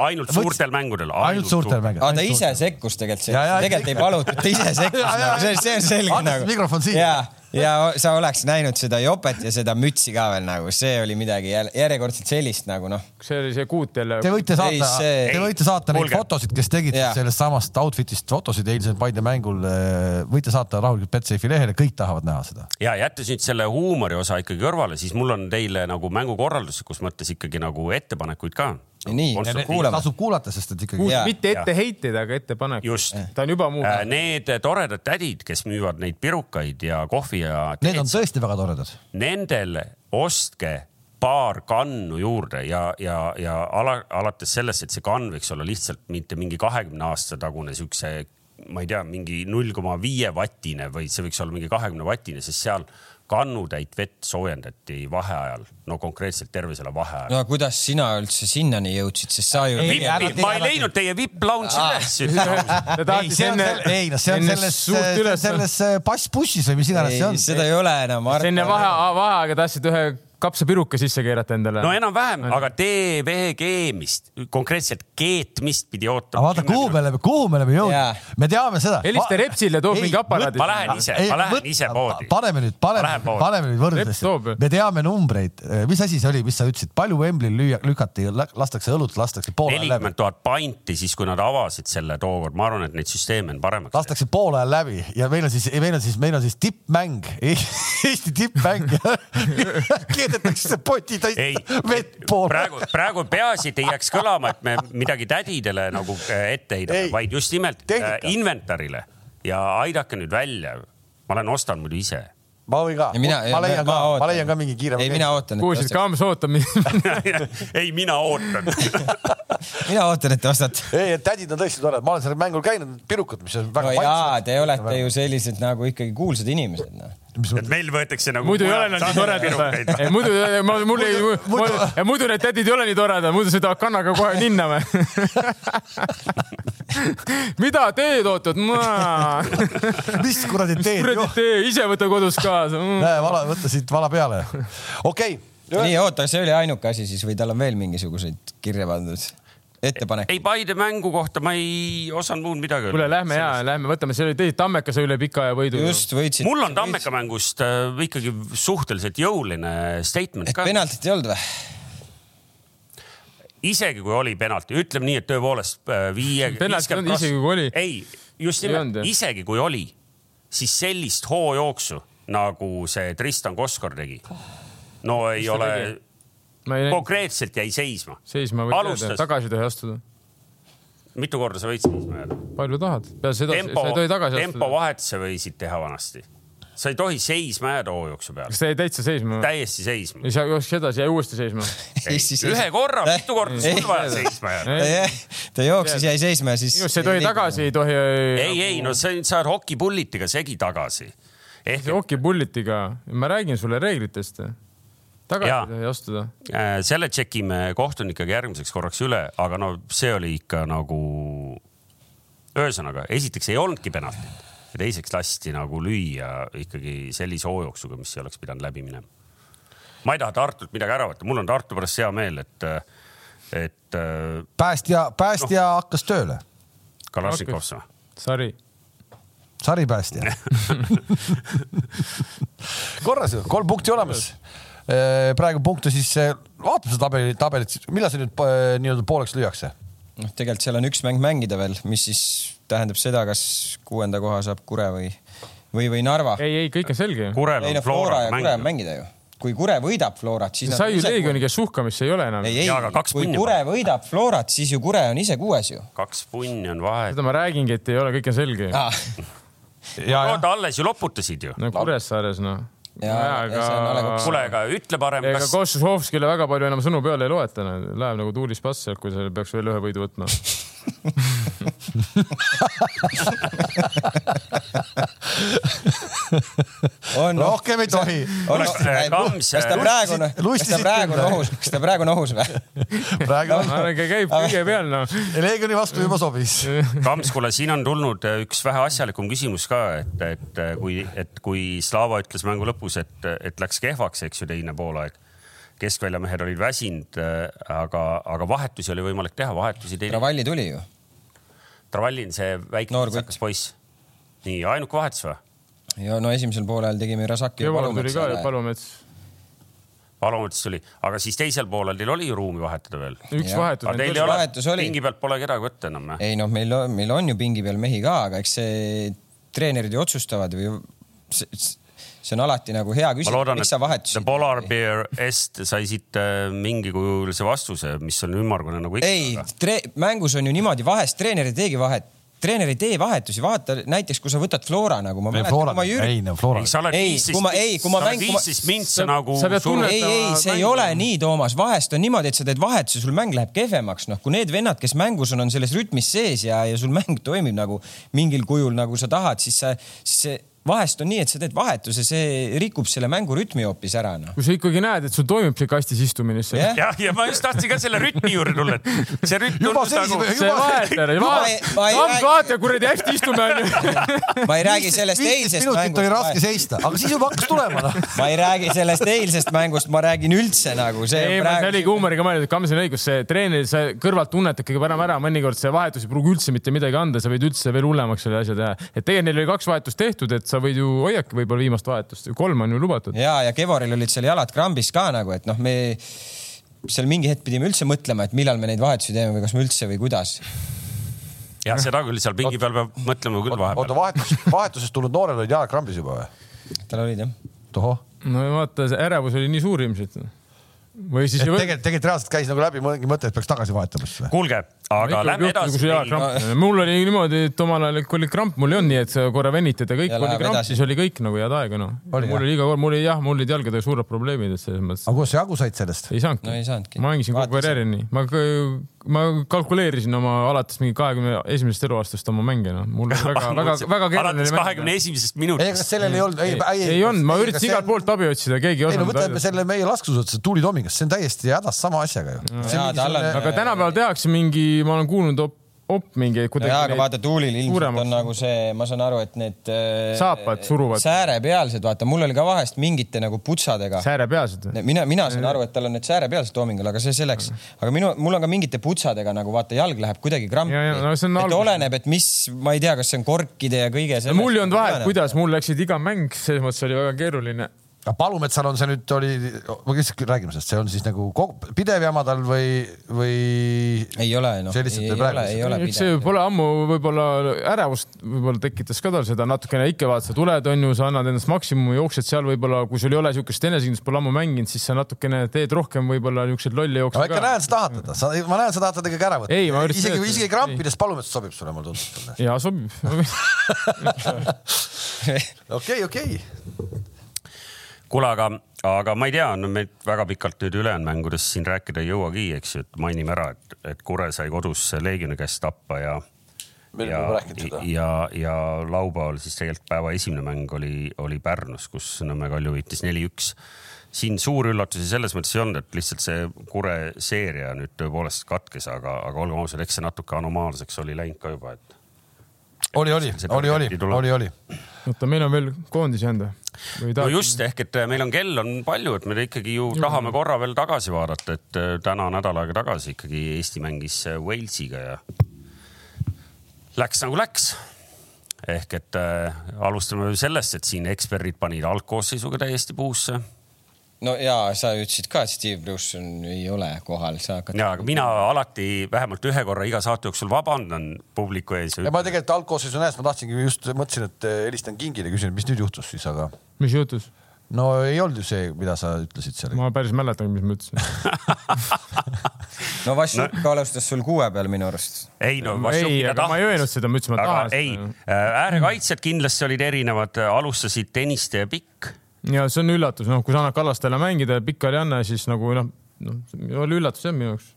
B: ainult suurtel mängudel .
A: ainult suurtel . mängudel .
C: aga ta ise sekkus tegelikult
A: Ja, ja,
C: sellesse , tegelikult ei
A: ikka.
C: palutud , ta ise sekkus
A: *laughs* Ja, ja,
C: nagu , see , see on selge
A: Andis
C: nagu .
A: mikrofon siia.
C: ja , ja o- sa oleks näinud seda jopet ja seda mütsi ka veel nagu , see oli midagi jälle- järjekordselt sellist nagu noh .
D: see oli see kuut jälle .
A: Te võite
C: Ei,
A: saata ,
C: see-
A: te võite saata neid
B: Kuulge.
A: fotosid , kes tegid
C: Jaa.
A: sellest samast outfit'ist fotosid eilsel Paide mängul . võite saata rahulikult Betsafe'i lehele , kõik tahavad näha seda .
B: ja jättes nüüd selle huumori osa ikkagi kõrvale , siis mul on teile nagu mängukorralduslikus mõttes ikkagi nagu ettepanekuid ka .
C: nii , kuulame .
A: tasub kuulata , sest et ikkagi .
C: Jaa.
D: mitte etteheiteid , aga ettepanek .
B: Just.
D: ta on juba
B: Äh,
D: muutunud .
B: Need toredad tädid , kes müüvad neid pirukaid ja kohvi ja
A: Need on
B: teed ,
A: tõesti väga toredad .
B: nendel ostke paar kannu juurde ja , ja , ja ala , alates sellest , et see kann võiks olla lihtsalt mitte mingi kahekümne aasta tagune siukse , ma ei tea , mingi null koma viie vatine , vaid see võiks olla mingi kahekümne vatine , sest seal kannutäit vett soojendati vaheajal , no konkreetselt terve selle vaheaja .
C: no kuidas sina üldse sinnani jõudsid , sest sa ju .
A: Ei, ära Ah.
B: Vippi , ma ei leidnud teie vipp-lounge'i üles , ütleme
A: *laughs*
B: ausalt .
D: ta
A: Äh, ei ,
D: tahtis
A: see on
D: enne ,
A: ei noh , see on
D: enne
A: selles ,
D: suurt üles-
A: selles äh, passbussis või mis iganes see on .
C: seda ei ole enam .
D: enne vahe , vaheaega tahtsid ühe kapsapiruka sisse keerata endale .
B: no enam-vähem , aga TVG-mist , konkreetselt keetmist pidi
A: aga
B: ootama .
A: Ah, vaata , kuhu me oleme , kuhu me oleme
C: Jaa.
A: jõudnud , me teame seda .
D: helista Repsile , toob mingi aparaadi .
B: ma lähen ise , ma lähen ise poodi .
A: paneme nüüd , paneme
B: lähen , poodi.
A: paneme nüüd
D: Reps toob
A: võrdlusesse
D: ju. .
A: me teame numbreid , mis asi see oli , mis sa ütlesid , palju Wembley'l lüüa , lükati , lastakse õlut , lastakse poole ajal läbi
B: nelikümmend , tuhat panti siis , kui nad avasid selle tookord , ma arvan , et neid süsteeme on paremaks .
A: lastakse poole ajal läbi ja meil on siis , meil on siis , meil on siis tippmäng , *laughs* Eesti tippmäng . *laughs* keedetakse poti
B: ei
A: täis *laughs* vett , poole .
B: praegu , praegu peaasi , et ei jääks kõlama , et me midagi tädidele nagu äh, ette heidame
A: Ei. ,
B: vaid just nimelt äh,
A: Tehnika.
B: inventarile ja aidake nüüd välja . ma lähen ostan muidu ise *laughs*
A: ma võin ka , ma, ma leian ka , ma leian ka mingi kiirema
C: ei , mina . ootan .
D: kuulsid , Kaams ootab mind . *laughs*
B: ei , mina ootan .
C: mina ootan , et te ostate .
A: ei , et tädid on tõesti toredad , ma olen sellel mängul käinud , pirukad , mis on väga
C: no jaa , te olete ju sellised nagu ikkagi kuulsad inimesed , noh .
B: et meil võetakse nagu .
D: muidu ei ole nad nii toredad . muidu , mul ei , muidu need tädid ei ole nii toredad , muidu sõidavad kannaga kohe ninna või ? mida teed ootad ?
A: *laughs* mis kuradi teed ,
D: kuradi tee , ise võta kodus kaasa . Mm.
A: näe , vala , võta siit vala peale . okei okay. ,
C: nii , oota , see oli ainuke asi siis või tal on veel mingisuguseid kirja pandud ettepanekuid ?
B: ei , Paide mängu kohta ma ei osanud muud midagi
D: kuule ,
B: öelda .
D: lähme ja lähme , võtame , see oli teie Tammeka sai üle pika aja võidu .
C: just võitsid .
B: mul on Tammeka mängust äh, ikkagi suhteliselt jõuline statement
C: ehk
B: ka .
C: penaltit ei olnud või ?
B: isegi kui oli penalti , ütleme nii , et tõepoolest äh, viie .
D: Penalti ei olnud, isegi kui oli.
B: ei , just
D: Ei olnud,
B: nimelt ,
D: jah.
B: isegi kui oli , siis sellist hoojooksu nagu see Tristan Koskor tegi , no ei
D: ta
B: ole ,
D: tegi? ma ei näinud
B: konkreetselt jäi seisma .
D: seisma või
B: Alustas.
D: tagasi ei tohi astuda .
B: mitu korda sa võid seisma jääda ?
D: palju tahad , peaasi edasi ,
B: tempo
D: sa ei tohi , tagasi
B: tempo
D: astuda .
B: vahetuse võisid teha vanasti . sa ei tohi seisma jääda hoojooksu peale ,
D: kas ta jäi täitsa seisma või ?
B: täiesti seisma .
D: ei saa , jooksis edasi , jäi uuesti seisma .
B: Ei, ühe korra , mitu korda sul vaja seisma jääda ?
C: ta jooksis , jäi seisma ja siis .
D: minu arust sa ei tohi . tagasi , ei tohi .
B: ei , ei , no see , sa oled hokipullitega segi tagasi . ehk
D: see hokipullitiga , ma räägin sulle reeglitest . tagasi
B: Jaa.
D: ei tohi astuda .
B: äh, selle tšekime kohtunikega järgmiseks korraks üle , aga no see oli ikka nagu , ühesõnaga , esiteks ei olnudki penaltit ja teiseks lasti nagu lüüa ikkagi sellise hoojooksuga , mis ei oleks pidanud läbi minema . ma ei taha Tartult midagi ära võtta , mul on Tartu pärast hea meel , et , et äh,
A: päästja , päästja no. hakkas tööle ,
B: Kalašnikov sa .
D: sari .
A: saripäästja . korras , kolm punkti olemas . praegu punkte siis , vaatame seda tabeli , tabelit , millal see nüüd eh, nii-öelda pooleks lüüakse ?
C: noh , tegelikult seal on üks mäng mängida veel , mis siis tähendab seda , kas kuuenda koha saab Kure või , või , või Narva .
D: ei , ei , kõik on selge .
B: Kurel
C: ei
B: on
C: no Flora
B: Flora
C: ja Kure on
B: mäng .
C: mängida ju . kui Kure võidab Florat , siis .
D: sai ju Leegioniga suhkamist , ei ole enam .
C: ei , ei
B: Jaa, aga , kaks
C: kui
B: punni
C: Kure võidab Florat , siis ju Kure on ise kuues ju .
B: kaks punni on vahet .
D: seda ma räägingi , et ei ole , kõik on selge .
C: Ah,
B: oota , alles ju loputasid ju .
D: no Kuressaares noh .
C: ja see on A Le Coq.
B: kuule , aga ütle parem ,
D: ega
B: kas ,
D: Košušovskile väga palju enam sõnu peale ei loeta , läheb nagu tuulis pass sealt , kui seal peaks veel ühe võidu võtma .
C: on
A: rohkem ei tohi .
C: on
B: Oleks see eh, Kams-
C: kas ta praegu on , kas ta
A: Lustisid
C: praegu on
A: küll,
C: ohus , kas ta praegu on ohus või ?
B: *laughs*
A: praegu on
D: aga käib kõige peal noh .
A: Leegioni vastu juba sobis .
B: Kams , kuule , siin on tulnud äh, üks vähe asjalikum küsimus ka , et , et äh, kui , et kui Slava ütles mängu lõpus , et , et läks kehvaks , eks ju , teine poolaeg . keskväljamehed olid väsinud , aga , aga vahetusi oli võimalik teha , vahetusi teinud .
C: Ravalli tuli ju .
B: Travallin , see väike
C: Noor kutt.
B: sakkas poiss . nii , ainuke vahetus või ?
C: ja no esimesel poolel tegime Rasaki ja
D: Jõval tuli ka
C: Palumetsa .
D: Palumets .
B: Palomets tuli , aga siis teisel poolel teil oli ju ruumi vahetada veel .
D: üks
B: aga
C: Jah.
D: vahetus .
B: teil ei ole
C: vahetus , oli.
B: pingi pealt pole kedagi võtta enam .
C: ei noh , meil , meil on ju pingi peal mehi ka , aga eks see treenerid ju otsustavad või see, see on alati nagu hea
B: ma
C: küsimus ,
B: loodan ,
C: miks
B: et
C: sa
B: The
C: vahetusid ?
B: Polar Bear S-t sai siit äh, mingikujulise vastuse , mis on ümmargune nagu ikka .
C: ei , mängus on ju niimoodi , vahest treener ei teegi vahet , treener ei tee vahetusi , vaata näiteks kui sa võtad Flora nagu ma mäletan , kui ma
A: ei
C: Jüri
A: no Flora
B: ei , sa oled
C: Ei,
B: viisteist ,
C: kui ma- ei, kui
B: sa
C: ma
B: oled
C: mäng- kui ma-
B: viisteist mintse
D: sa-
B: nagu
D: sa pead
B: surnud
C: ei ,
D: tunnetama-
C: ei , see ei
D: mängima.
C: ole nii , Toomas , vahest on niimoodi , et sa teed vahetuse , sul mäng läheb kehvemaks , noh , kui need vennad , kes mängus on , on selles rütmis sees ja , ja sul mäng toimib nagu mingil kujul , nagu sa tahad , siis sa , siis see vahest on nii , et sa teed vahetuse , see rikub selle mängu rütmi hoopis ära , noh .
D: kui sa ikkagi näed , et sul toimub see kastis istumine , siis
C: Jah.
D: sa
B: jah , ja ma just tahtsin ka selle rütmi juurde tulla , et see rütm
A: Juba
B: tundus nagu
A: seisime,
D: see vahetar ,
C: Ma ei- ma ei
D: vaata ,
C: räägi-
D: vaata kuradi hästi istume onju .
C: ma ei räägi sellest
A: viisteist
C: eilsest
A: minutit oli raske
C: mängust ,
A: seista , aga siis juba hakkas tulema noh .
C: ma ei räägi sellest eilsest mängust , ma räägin üldse nagu see
D: ei ,
C: on
D: ma see oligi
C: praegu .
D: huumoriga mõeldud , Kams on õigus , see treener , sa kõrvalt tunned ikkagi parem ära , mõnikord see vahetus ei pruugi üldse mitte midagi anda , sa võid üldse veel hullemaks selle asja teha . et tegelikult neil oli kaks vahetust tehtud , et sa võid ju hoiake võib-olla viimast vahetust , kolm on ju lubatud .
C: ja , ja Kevoril olid seal jalad krambis ka nagu , et noh , me seal mingi hetk pidime üldse mõtlema , et millal me neid vahetusi teeme või kas me üldse või kuidas .
B: jah , seda küll seal pingi peal peab mõtlema küll
A: oota ,
B: vahepeal .
A: vahetus , *laughs* vahetusest tulnud noored olid jalad krambis juba või ?
C: tal olid jah
A: tohoh .
D: no vaata , see ärevus oli nii suur ilmselt . või siis
A: et
D: ei või-
A: tegelikult , tegelikult reaalselt käis nagu läbi mingi mõte , et peaks tagasi vahetama siis või ?
B: kuulge , aga
D: ikka
B: lähme
D: võib juhtuda, kui sul jalg
B: edasi .
D: kramp- mul oli niimoodi , et omal ajal , kui oli kramp , mul ei olnud nii , et sa korra venitad ja kõik ,
C: Ja
D: kui oli
C: läheb
D: kramp ,
C: edasi.
D: siis oli kõik nagu head aega noh .
A: Oli,
D: mul
A: jah?
D: oli iga kord , mul oli jah , mul olid jalgadega suured probleemid , et selles mõttes
A: aga kuidas sa jagu said sellest ?
D: ei saanudki .
C: No ei saanudki.
D: ma mängisin kogu
C: Vaatasin.
D: karjäärini , ma , ma kalkuleerisin oma alates mingi kahekümne esimesest eluaastast oma mänge noh , mul
C: *laughs*
D: oli väga , väga , väga keeruline
B: alates kahekümne .
A: ei ,
B: esimesest
A: kas
B: minutist .
A: sellel ei olnud , ei , ei ,
D: ei olnud , ma üritasin igalt poolt abi otsida , keegi ei
A: ei no
D: osanud
A: võtame . selle meie laskesuusatuse Tuuli Toomingast , see on täiesti hädas sama asjaga ju .
D: Mm.
C: jaa, tal on-
D: aga tänapäeval tehakse mingi , ma olen kuulnud op- , op mingi
C: no jaa , aga
D: kuidagi .
C: vaata tuulil ilmselt
D: suuremaks.
C: on nagu see , ma saan aru , et need äh,
D: Saapad suruvad.
C: säärepealsed , vaata mul oli ka vahest mingite nagu putsadega .
D: sääre peas , et .
C: mina , mina saan aru , et tal on need säärepealsed toomingal , aga see selleks .
D: Mm.
C: aga minu , mul on ka mingite putsadega nagu vaata jalg läheb kuidagi krampi .
D: Ja, ja, no see on
C: et
D: algus.
C: oleneb , et mis , ma ei tea , kas see on korkide ja kõige
D: no
C: selle .
D: mul ei olnud vahet ,. kuidas , mul läksid iga mäng , selles mõttes oli väga keeruline .
A: aga Palumetsal on see nüüd oli , ma lihtsalt räägime sellest , see on siis nagu kogu, pidev jama tal või , või ?
C: ei ole noh ,
A: See
C: ei,
A: lihtsalt
C: ei
A: ei
C: ole
A: praegu- ,
C: ei ole
D: eks see
C: pidev .
D: pole ammu võib-olla ärevust võib-olla tekitas ka tal seda natukene ikka vaata , sa tuled onju , sa annad endast maksimumi , jooksed seal võib-olla , kui sul ei ole siukest enesekindlust , pole ammu mänginud , siis sa natukene teed rohkem võib-olla niukseid lolle
A: ma
D: jookse
A: ikka
D: ka .
A: näen , sa tahad teda , sa , ma näen , sa tahad teda ikkagi ära võtta .
D: Ei, ma üritasin
A: isegi ,
D: öelda,
A: isegi
D: et-
A: krampidest Palumets sobib sulle , mulle tundub .
D: ja sobib . *laughs*
A: okei , okei .
B: kuule , aga , aga ma ei tea , no me väga pikalt nüüd ülejäänud mängudest siin rääkida ei jõuagi , eks ju , et mainime ära , et , et Kure sai kodus Leegioni käest tappa ja .
A: Me oleme
B: ja
A: juba rääkinud seda. ,
B: ja , ja laupäeval siis tegelikult päeva esimene mäng oli , oli Pärnus , kus Nõmme Kalju võitis neli-üks . siin suuri üllatusi selles mõttes ei olnud, et lihtsalt see kure seeria nüüd tõepoolest katkes, aga , aga olgem ausad , eks see natuke anomaalseks oli läinud ka juba , et
A: oli , oli
B: See ,
A: oli , oli
B: peabki , tulema.
A: oli , oli .
D: oota , meil on veel koondise jäänud või ?
B: no just ehk , et äh, meil on kell on palju , et me ikkagi ju tahame korra veel tagasi vaadata , et eh, täna nädal aega tagasi ikkagi Eesti mängis eh, Walesiga ja läks nagu läks . ehk et äh, alustame sellest , et siin eksperdid panid algkoosseisuga täiesti puusse
C: no ja sa ütlesid ka , et Steve Bruceson ei ole kohal , sa hakkad .
B: ja aga mina alati vähemalt ühe korra iga saate jooksul vabandan publiku ees .
A: ja ma tegelikult algkoosseisu nähes ma tahtsingi just mõtlesin , et eh, helistan Kingile , küsin , et mis nüüd juhtus siis , aga
D: mis jutus ?
A: no ei olnud ju see , mida sa ütlesid seal .
D: ma päris mäletan , mis ma ütlesin .
C: no Vassiuk no. alustas sul kuue peal minu arust .
B: ei no
D: ei ,
B: Vassiukile
D: aga ma ei öelnud seda , ma ütlesin , ma
B: aga ei äh,
D: tahan ,
B: äärekaitsjad kindlasti olid erinevad , alustasid Tõniste ja Pikk .
D: seda . ja see on üllatus , noh , kui sa annad Kallastajale mängida ja pikali ei anna , siis nagu noh , noh , oli üllatus jah minu jaoks .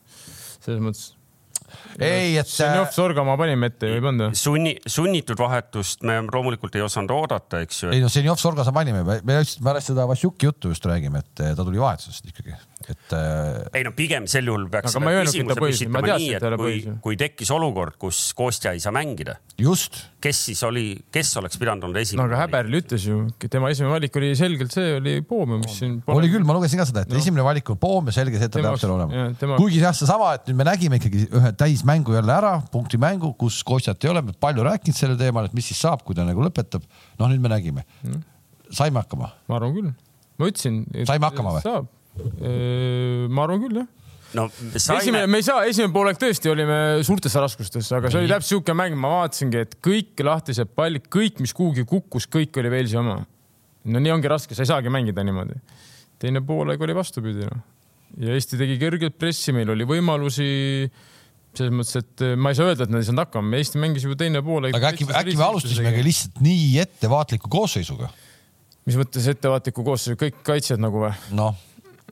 D: selles mõttes .
A: ei , et eh,
D: Senjov , Sorga ma panime ette ju ei pannud või ?
B: sunni , sunnitud vahetust me loomulikult ei osanud oodata , eks ju .
A: ei no Senjov Sorga sa mainime , me me just pärast seda Vassiuki juttu just räägime , et eh, ta tuli vahetusest ikkagi , et eh,
B: ei no pigem sel juhul peaks
D: Aga ma ei
B: selle
D: öelnud, et ta
B: küsimuse
D: põhjus-
B: püstitama
D: ma teadsin,
B: nii ,
D: et
B: et
D: ta ei ole
B: kui
D: põhjus. ,
B: kui tekkis olukord , kus Kostja ei saa mängida ,
A: just ,
B: kes siis oli , kes oleks pidanud olema
D: no
B: esimene ?
D: aga Häberli ütles ju , tema esimene valik oli selgelt see , oli Poom , mis siin .
A: oli küll , ma lugesin ka seda , et no. esimene valik on Poom ja selge see , et ta
D: Noh. Tema-
A: peab seal olema
D: jah, . tema-
A: kuigi jah , seesama , et nüüd me nägime ikkagi ühe täismängu jälle ära , punktimängu , kus Kostjat ei ole , me oleme palju rääkinud sellel teemal , et mis siis saab , kui ta nagu lõpetab . noh , nüüd me nägime mm. . saime hakkama ,
D: ma arvan küll . ma ütlesin .
A: Saime hakkama või?
D: saab . ma arvan küll jah
B: no
D: esimene ,
B: saime ,
D: me ei saa , esimene poolek tõesti olime suurtes raskustes , aga see oli täpselt siuke mäng , ma vaatasingi , et kõik lahtised pallid , kõik , mis kuhugi kukkus , kõik oli Walesi oma . no nii ongi raske , sa ei saagi mängida niimoodi . teine poolek oli vastupidi noh . ja Eesti tegi kõrget pressi , meil oli võimalusi . selles mõttes , et eh, ma ei saa öelda , et nad ei saanud hakkama , Eesti mängis juba teine poolek .
A: aga äkki , äkki me alustasimegi lihtsalt nii ettevaatliku koosseisuga ,
D: mis mõttes ettevaatliku koosseisu , kõik kaitsjad nagu või ?
A: noh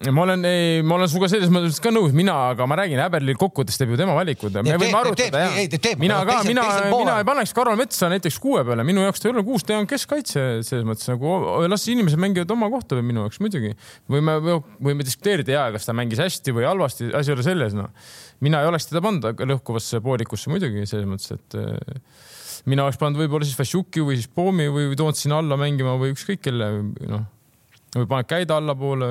D: Ja ma olen , ei , ma olen sinuga selles mõttes ka nõus , mina , aga ma räägin , Häberli kokkuvõttes teeb ju tema valikud . me
A: teeb,
D: võime
A: teeb,
D: arutada
A: ei, ei, teeb, teeb.
D: mina
A: Aga
D: ka ,
A: teisel-
D: mina
A: teisel , poolel-
D: mina ei paneks Karol Metsa näiteks kuue peale , minu jaoks ta ei ole kuus , ta on keskkaitse selles mõttes nagu , las inimesed mängivad oma kohta või minu jaoks muidugi . võime , võime diskuteerida ja kas ta mängis hästi või halvasti , asi ei ole selles noh . mina ei oleks teda pannud aga lõhkuvasse poolikusse muidugi selles mõttes , et äh, mina oleks pannud võib-olla siis Vassiuki või siis Poomi või, või Tootsi sinna alla mängima või ükskõik kelle noh või paned käida allapoole ,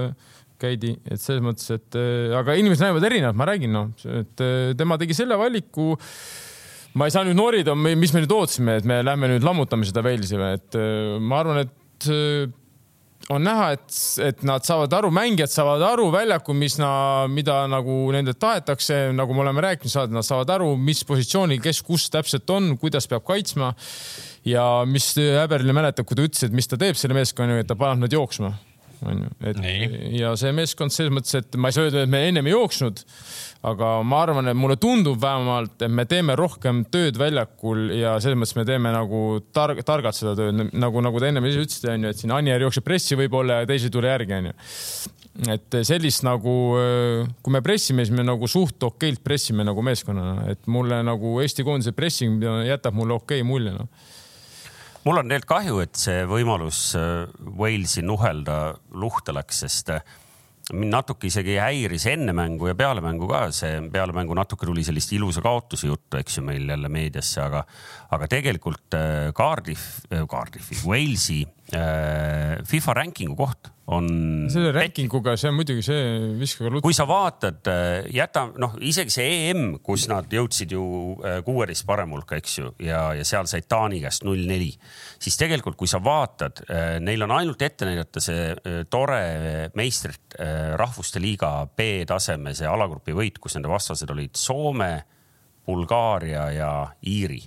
D: käidi , et selles mõttes , et äh, aga inimesed näevad erinevalt , ma räägin noh , et äh, tema tegi selle valiku . ma ei saa nüüd norida , mis me nüüd ootasime , et me lähme nüüd lammutame seda Walesi või , et äh, ma arvan , et äh, on näha , et , et nad saavad aru , mängijad saavad aru väljaku , mis na, , mida nagu nendelt tahetakse , nagu me oleme rääkinud , saad , nad saavad aru , mis positsioonil , kes kus täpselt on , kuidas peab kaitsma . ja mis Häberli mäletab , kui ta ütles , et mis ta teeb selle meeskonnaga , et ta paneb nad jooksma onju , et ja see meeskond selles mõttes , et ma ei saa öelda , et me ennem ei jooksnud , aga ma arvan , et mulle tundub vähemalt , et me teeme rohkem tööd väljakul ja selles mõttes me teeme nagu targ , targalt seda tööd , nagu , nagu te ennem ise ütlesite , onju , et siin Anier jookseb pressi võib-olla ja teisi ei tule järgi , onju . et sellist nagu , kui me pressime , siis me nagu suht okeilt pressime nagu meeskonnana , et mulle nagu Eesti koondise pressing jätab mulle okei mulje , noh .
B: mul on tegelikult kahju , et see võimalus äh, Walesi nuhelda luhta läks , sest äh, mind natuke isegi häiris enne mängu ja peale mängu ka see , peale mängu natuke tuli sellist ilusa kaotuse juttu , eks ju , meil jälle meediasse , aga , aga tegelikult äh, Cardiff , Cardiffi , Walesi äh, FIFA ranking'u koht on .
D: selle ranking uga , see on muidugi see , viskage lutt .
B: kui sa vaatad , jäta noh , isegi see EM , kus nad jõudsid ju äh, kuueteist parema hulka , eks ju , ja , ja seal said Taani käest null neli , siis tegelikult , kui sa vaatad , neil on ainult ette näidata see äh, tore meistrit äh, rahvuste liiga B-taseme see alagrupi võit , kus nende vastased olid Soome , Bulgaaria ja Iiri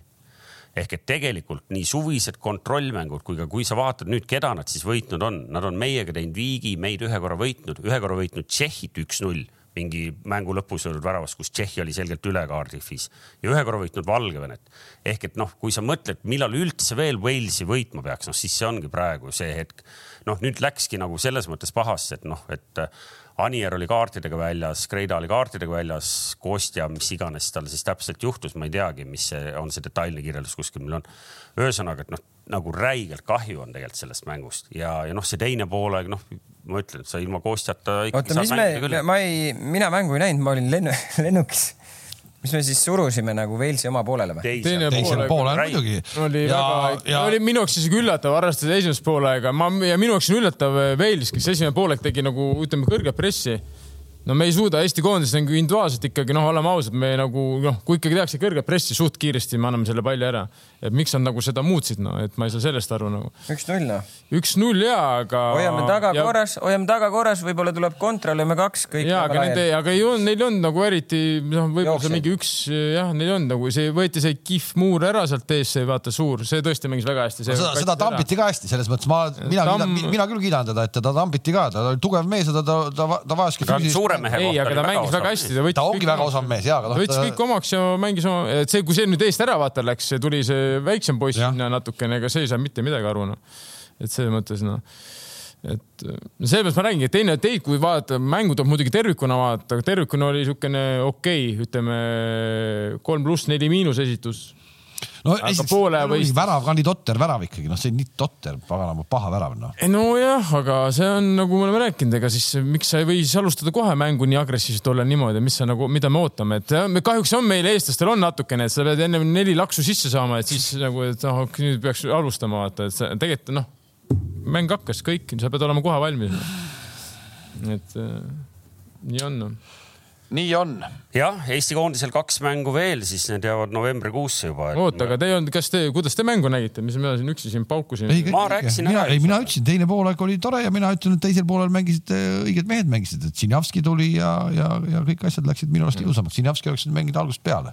B: ehk et tegelikult nii suvised kontrollmängud kui ka , kui sa vaatad nüüd , keda nad siis võitnud on , nad on meiega teinud viigi , meid ühe korra võitnud , ühe korra võitnud Tšehhit üks-null mingi mängu lõpus olnud väravas , kus Tšehhi oli selgelt üle Cardiffis ja ühe korra võitnud Valgevenet . ehk et noh , kui sa mõtled , millal üldse veel Walesi võitma peaks , noh siis see ongi praegu see hetk . noh , nüüd läkski nagu selles mõttes pahasse , et noh , et Anier oli kaartidega väljas, Kreida oli kaartidega väljas, Kostja, mis iganes tal siis täpselt juhtus, ma ei teagi, mis see on, see detailne kirjeldus kuskil meil on. ühesõnaga, et noh, nagu räigelt kahju on tegelikult sellest mängust ja, ja noh, see teine poolaeg, noh, ma ütlen, et sa ilma Kostjata
C: oota , mis me , ma ei , mina mängu ei näinud , ma olin lennu , *laughs* lennukis . mis me siis surusime nagu Walesi oma poolele või ?
D: teine
A: teisel
D: poolel
A: poolel
B: Räigelt.
A: muidugi .
D: oli ja, väga , oli minu jaoks isegi üllatav , arvestades esimest poolega , ma ja minu jaoks on üllatav äh, Wales , kes esimene poolek tegi nagu ütleme kõrget pressi . no me ei suuda Eesti koondises nagu individuaalselt ikkagi noh , oleme ausad , me nagu noh , kui ikkagi tehakse kõrget pressi suht kiiresti , me anname selle palli ära . et miks nad nagu seda muutsid , no et ma ei saa sellest aru nagu .
C: üks-null noh .
D: üks-null ja , aga .
C: hoiame taga ja... . korras , hoiame taga korras , võib-olla tuleb kontra , lööme kaks , kõik .
D: ja , aga nende , aga ei olnud , neil ei olnud nagu eriti , noh , võib-olla
C: Jooksjaid.
D: seal mingi üks jah , neil ei olnud nagu see , võeti see kihv muur ära sealt ees , see vaata suur , see tõesti mängis väga hästi .
A: seda , seda tambiti ka hästi , selles mõttes ma , mina
D: Tamm-
A: Tam... , mina küll kiidan teda , et teda tambiti ka , ta oli tugev mees ja ta , ta , ta , ta vajaski
B: ta on suure mehe
D: ei , aga ta mängis väga hästi , ta võttis .
A: ta ongi väga osav . mees ja , aga noh,
D: ta võttis kõik omaks ja mängis oma , et see , kui see nüüd eest ära vaata läks , tuli see väiksem poiss
A: Jah.
D: sinna natukene , ega see ei saa mitte midagi aru noh . et selles mõttes noh , et no sellepärast ma räägingi , et teine , teid , kui vaadata , mängu tuleb muidugi tervikuna vaadata , aga tervikuna oli niisugune okei okay, , ütleme kolm pluss neli miinus esitus .
A: no
D: aga
A: esiteks
D: poole
A: poole või
D: võistlus-
A: värav ka nii totter värav ikkagi , noh , see on nii totter , paganama paha värav noh .
D: nojah , Eh, aga see on nagu me oleme rääkinud , ega siis miks sa ei või siis alustada kohe mängu nii agressiivselt olla niimoodi , mis sa nagu , mida me ootame , et me kahjuks on meil , eestlastel on natukene , et sa pead ennem neli laksu sisse saama , et siis nagu , et noh , nüüd peaks alustama vaata , et sa tegelikult noh , mäng hakkas kõik , sa pead olema kohe valmis . et eh, nii on . noh.
A: nii on .
B: jah , Eesti koondisel kaks mängu veel , siis need jäävad novembrikuusse juba .
D: oota , aga te ei olnud , kas te , kuidas te mängu nägite , mis mina siin üksi siin paukusin ?
B: Ma rääkisin
A: mina,
B: ära,
A: ei ,
B: eks
A: mina
B: ole.
A: ütlesin , teine poolaeg oli tore ja mina ütlen , et teisel poolel mängisid äh, õiged mehed mängisid , et Sinjavski tuli ja , ja , ja kõik asjad läksid minu
D: Mm.
A: arust ilusamaks , Sinjavski oleks mänginud algusest peale .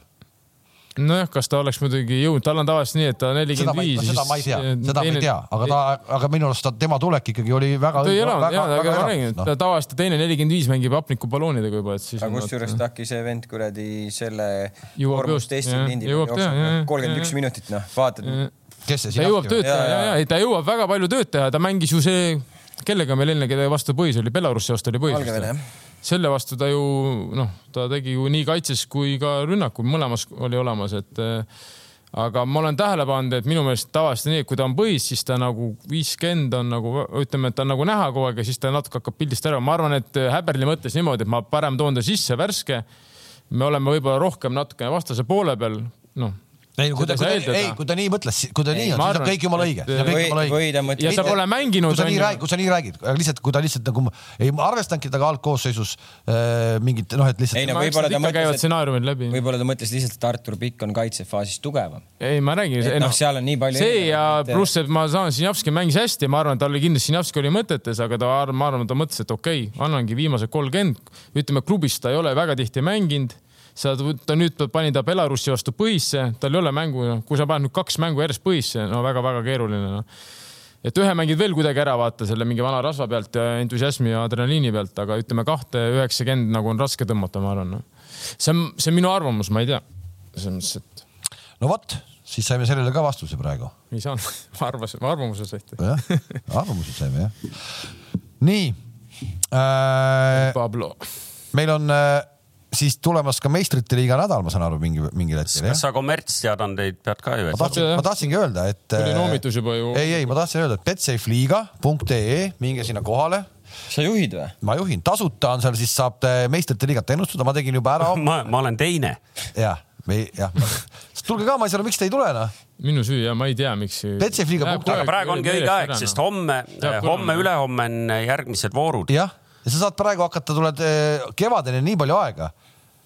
D: nojah , kas ta oleks muidugi jõudnud , tal on tavaliselt nii , et ta
A: seda
D: nelikümmend
A: ma ei ,
D: viis . eh,
A: seda ma ei tea , seda ma ei tea , aga ta , aga minu arust ta- tema tulek ikkagi oli väga . Noh,
D: ta ei elanud , jaa , aga ma räägin , et ta tavaliselt teine nelikümmend viis mängib hapnikupalloonidega juba , et siis .
C: aga kusjuures . taki see vend kuradi selle .
D: Jõuab just, jah, jõuab teha, jah, jah,
C: kolmkümmend üks
D: jah.
C: minutit noh , vaatad .
A: kes see
D: ta jõuab
A: Sinjavski
D: tööd
A: oli ?
D: teha
C: Jaa,
D: ja ,
C: jaa.
D: ja ei ta jõuab väga palju tööd teha , ta mängis ju see , kellega meil enne , kelle vastu põis oli , Belarusi vastu oli
C: Valgevene, jah.
D: põis . selle vastu ta ju noh , ta tegi ju nii kaitses kui ka rünnakul , mõlemas oli olemas , et äh, aga ma olen tähele pannud , et minu meelest tavaliselt nii , et kui ta on põis , siis ta nagu viiskümmend on nagu ütleme , et ta on nagu näha kogu aeg ja siis ta natuke hakkab pildist ära , ma arvan , et Häberli mõtles niimoodi , et ma parem toon ta sisse värske . me oleme võib-olla rohkem natukene vastase poole peal , noh .
A: ei , kui ta ,
D: Seda
A: kui
D: ei
A: ta ,
D: saa
A: ei
D: eeldada. ,
A: kui ta nii mõtles , kui ta nii on ,
D: ma
A: siis on
D: arvan,
A: kõik jumala õige .
D: et-
C: või , või ta
D: ja
C: mõtleb
D: ta pole
A: kui
D: mänginud .
A: sa nii räägid , kui sa nii räägid , aga lihtsalt , kui ta lihtsalt nagu ei arvestanudki temaga algkoosseisus äh, mingit noh , et
C: ei
A: lihtsalt .
C: no võib-olla ta
D: käivad
C: mõtles , et ,
D: stsenaariumid läbi .
C: võib-olla ta mõtles lihtsalt , et Artur Pikk on kaitsefaasis tugevam .
D: ei , ma räägin .
C: Et noh, seal on nii palju
D: see
C: erinevaid,
D: ja
C: et-
D: pluss , et ma saan , Sinjavski mängis hästi , ma arvan , et tal oli kindlasti , Sinjavski oli mõtetes , aga ta , ma arvan , ta mõtles , et okei okay, , annangi viimased kolmkümmend , ütleme klubis ta ei ole väga tihti mänginud sa , ta nüüd pani ta Belarusi vastu põhisse , tal ei ole mängu , noh , kui sa paned nüüd kaks mängu järjest põhisse , no väga-väga keeruline noh et ühe mängid veel kuidagi ära vaata selle mingi vana rasva pealt ja entusiasmi ja adrenaliini pealt , aga ütleme kahte üheksakümmend nagu on raske tõmmata , ma arvan . see on , see on minu arvamus , ma ei tea . selles mõttes , et
A: no vot , siis saime sellele ka vastuse praegu .
D: ei *laughs* saanud , ma arvasin , ma arvamuse
C: *laughs*
D: saite .
A: jah , arvamused saime jah . nii äh, ,
D: Pablo .
A: meil on äh, siis tulemas ka meistrite liiga nädal , ma saan aru , mingi mingil hetkel
B: kas
A: jah .
B: sa kommertsteadandeid pead ka ju
A: ma ? tahtsin , ma tahtsingi öelda , et .
D: Tuli noomitus juba ju.
A: ei , ei , ma tahtsin öelda , et betsafeliiga.ee , minge sinna kohale
C: sa juhid või ?
A: ma juhin , tasuta on seal , siis saab äh, meistrite liigat ennustada , ma tegin juba ära .
B: ma , ma olen teine .
A: jah , me jah , tulge ka , ma ei saa aru , miks te ei tule noh .
D: minu süü ja ma ei tea , miks .
A: Betsafe liiga punkt, aga
B: praegu ongi õige aeg , sest homme ,
D: Peab
B: homme ,
D: tulema.
B: ülehomme on järgmised voorud .
A: jah , ja sa saad praegu hakata , tuled eh, kevadeni on nii palju aega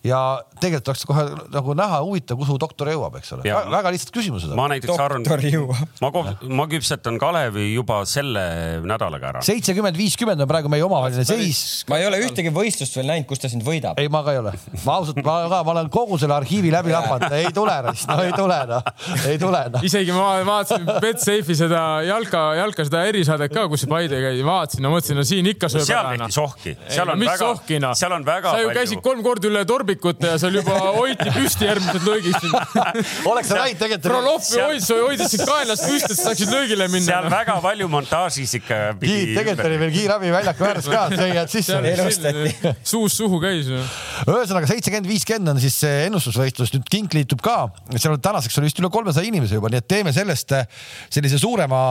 A: ja tegelikult oleks kohe nagu näha , huvitav , kuhu doktor jõuab , eks ole
B: Jaa. .
A: väga lihtsad küsimused
B: ma
A: on .
B: näiteks arvan ,
C: doktor jõuab .
B: ma , ma küpsetan Kalevi juba selle nädalaga ära .
A: seitsekümmend , viiskümmend on praegu meie omavaheline seis .
C: ma ei ole ühtegi võistlust veel näinud , kus ta sind võidab .
A: ei , ma ka ei ole , ma ausalt , ma ka , ma olen kogu selle arhiivi läbi lahvanud , ei tule , no ei tule , noh , ei tule , noh .
D: isegi ma vaatasin
B: *laughs*
D: Betsafe'i seda jalka , jalka seda erisaadet ka , kus see Paide käis , vaatasin ja mõtlesin , no siin ikka sööb
B: seal
D: ära,
B: tehti
D: noh.
B: sohki ,
D: Ei,
B: seal
D: no
B: on
D: mis
B: väga
D: sohkina? ,
B: seal on väga
D: sa ju
B: palju
D: käisid . kolm korda üle torbi poolikut ja seal juba hoiti püsti järgmised löögist .
B: *laughs*
E: oleks sa näinud tegelikult .
D: Frolov hoidis , hoidis sind kaelast püsti , et saaksid löögile
B: seal
D: minna . noh.
B: väga palju montaažis ikka
E: Tiit , tegelikult
B: pidi .
E: oli veel kiirabiväljaku ääres ka , sai jääd sisse .
C: elustati.
D: suust suhu käis . noh.
E: ühesõnaga seitsekümmend , viiskümmend on siis see ennustusvõistlus , nüüd kink liitub ka , seal on tänaseks on vist üle kolmesaja inimese juba , nii et teeme sellest eh, sellise suurema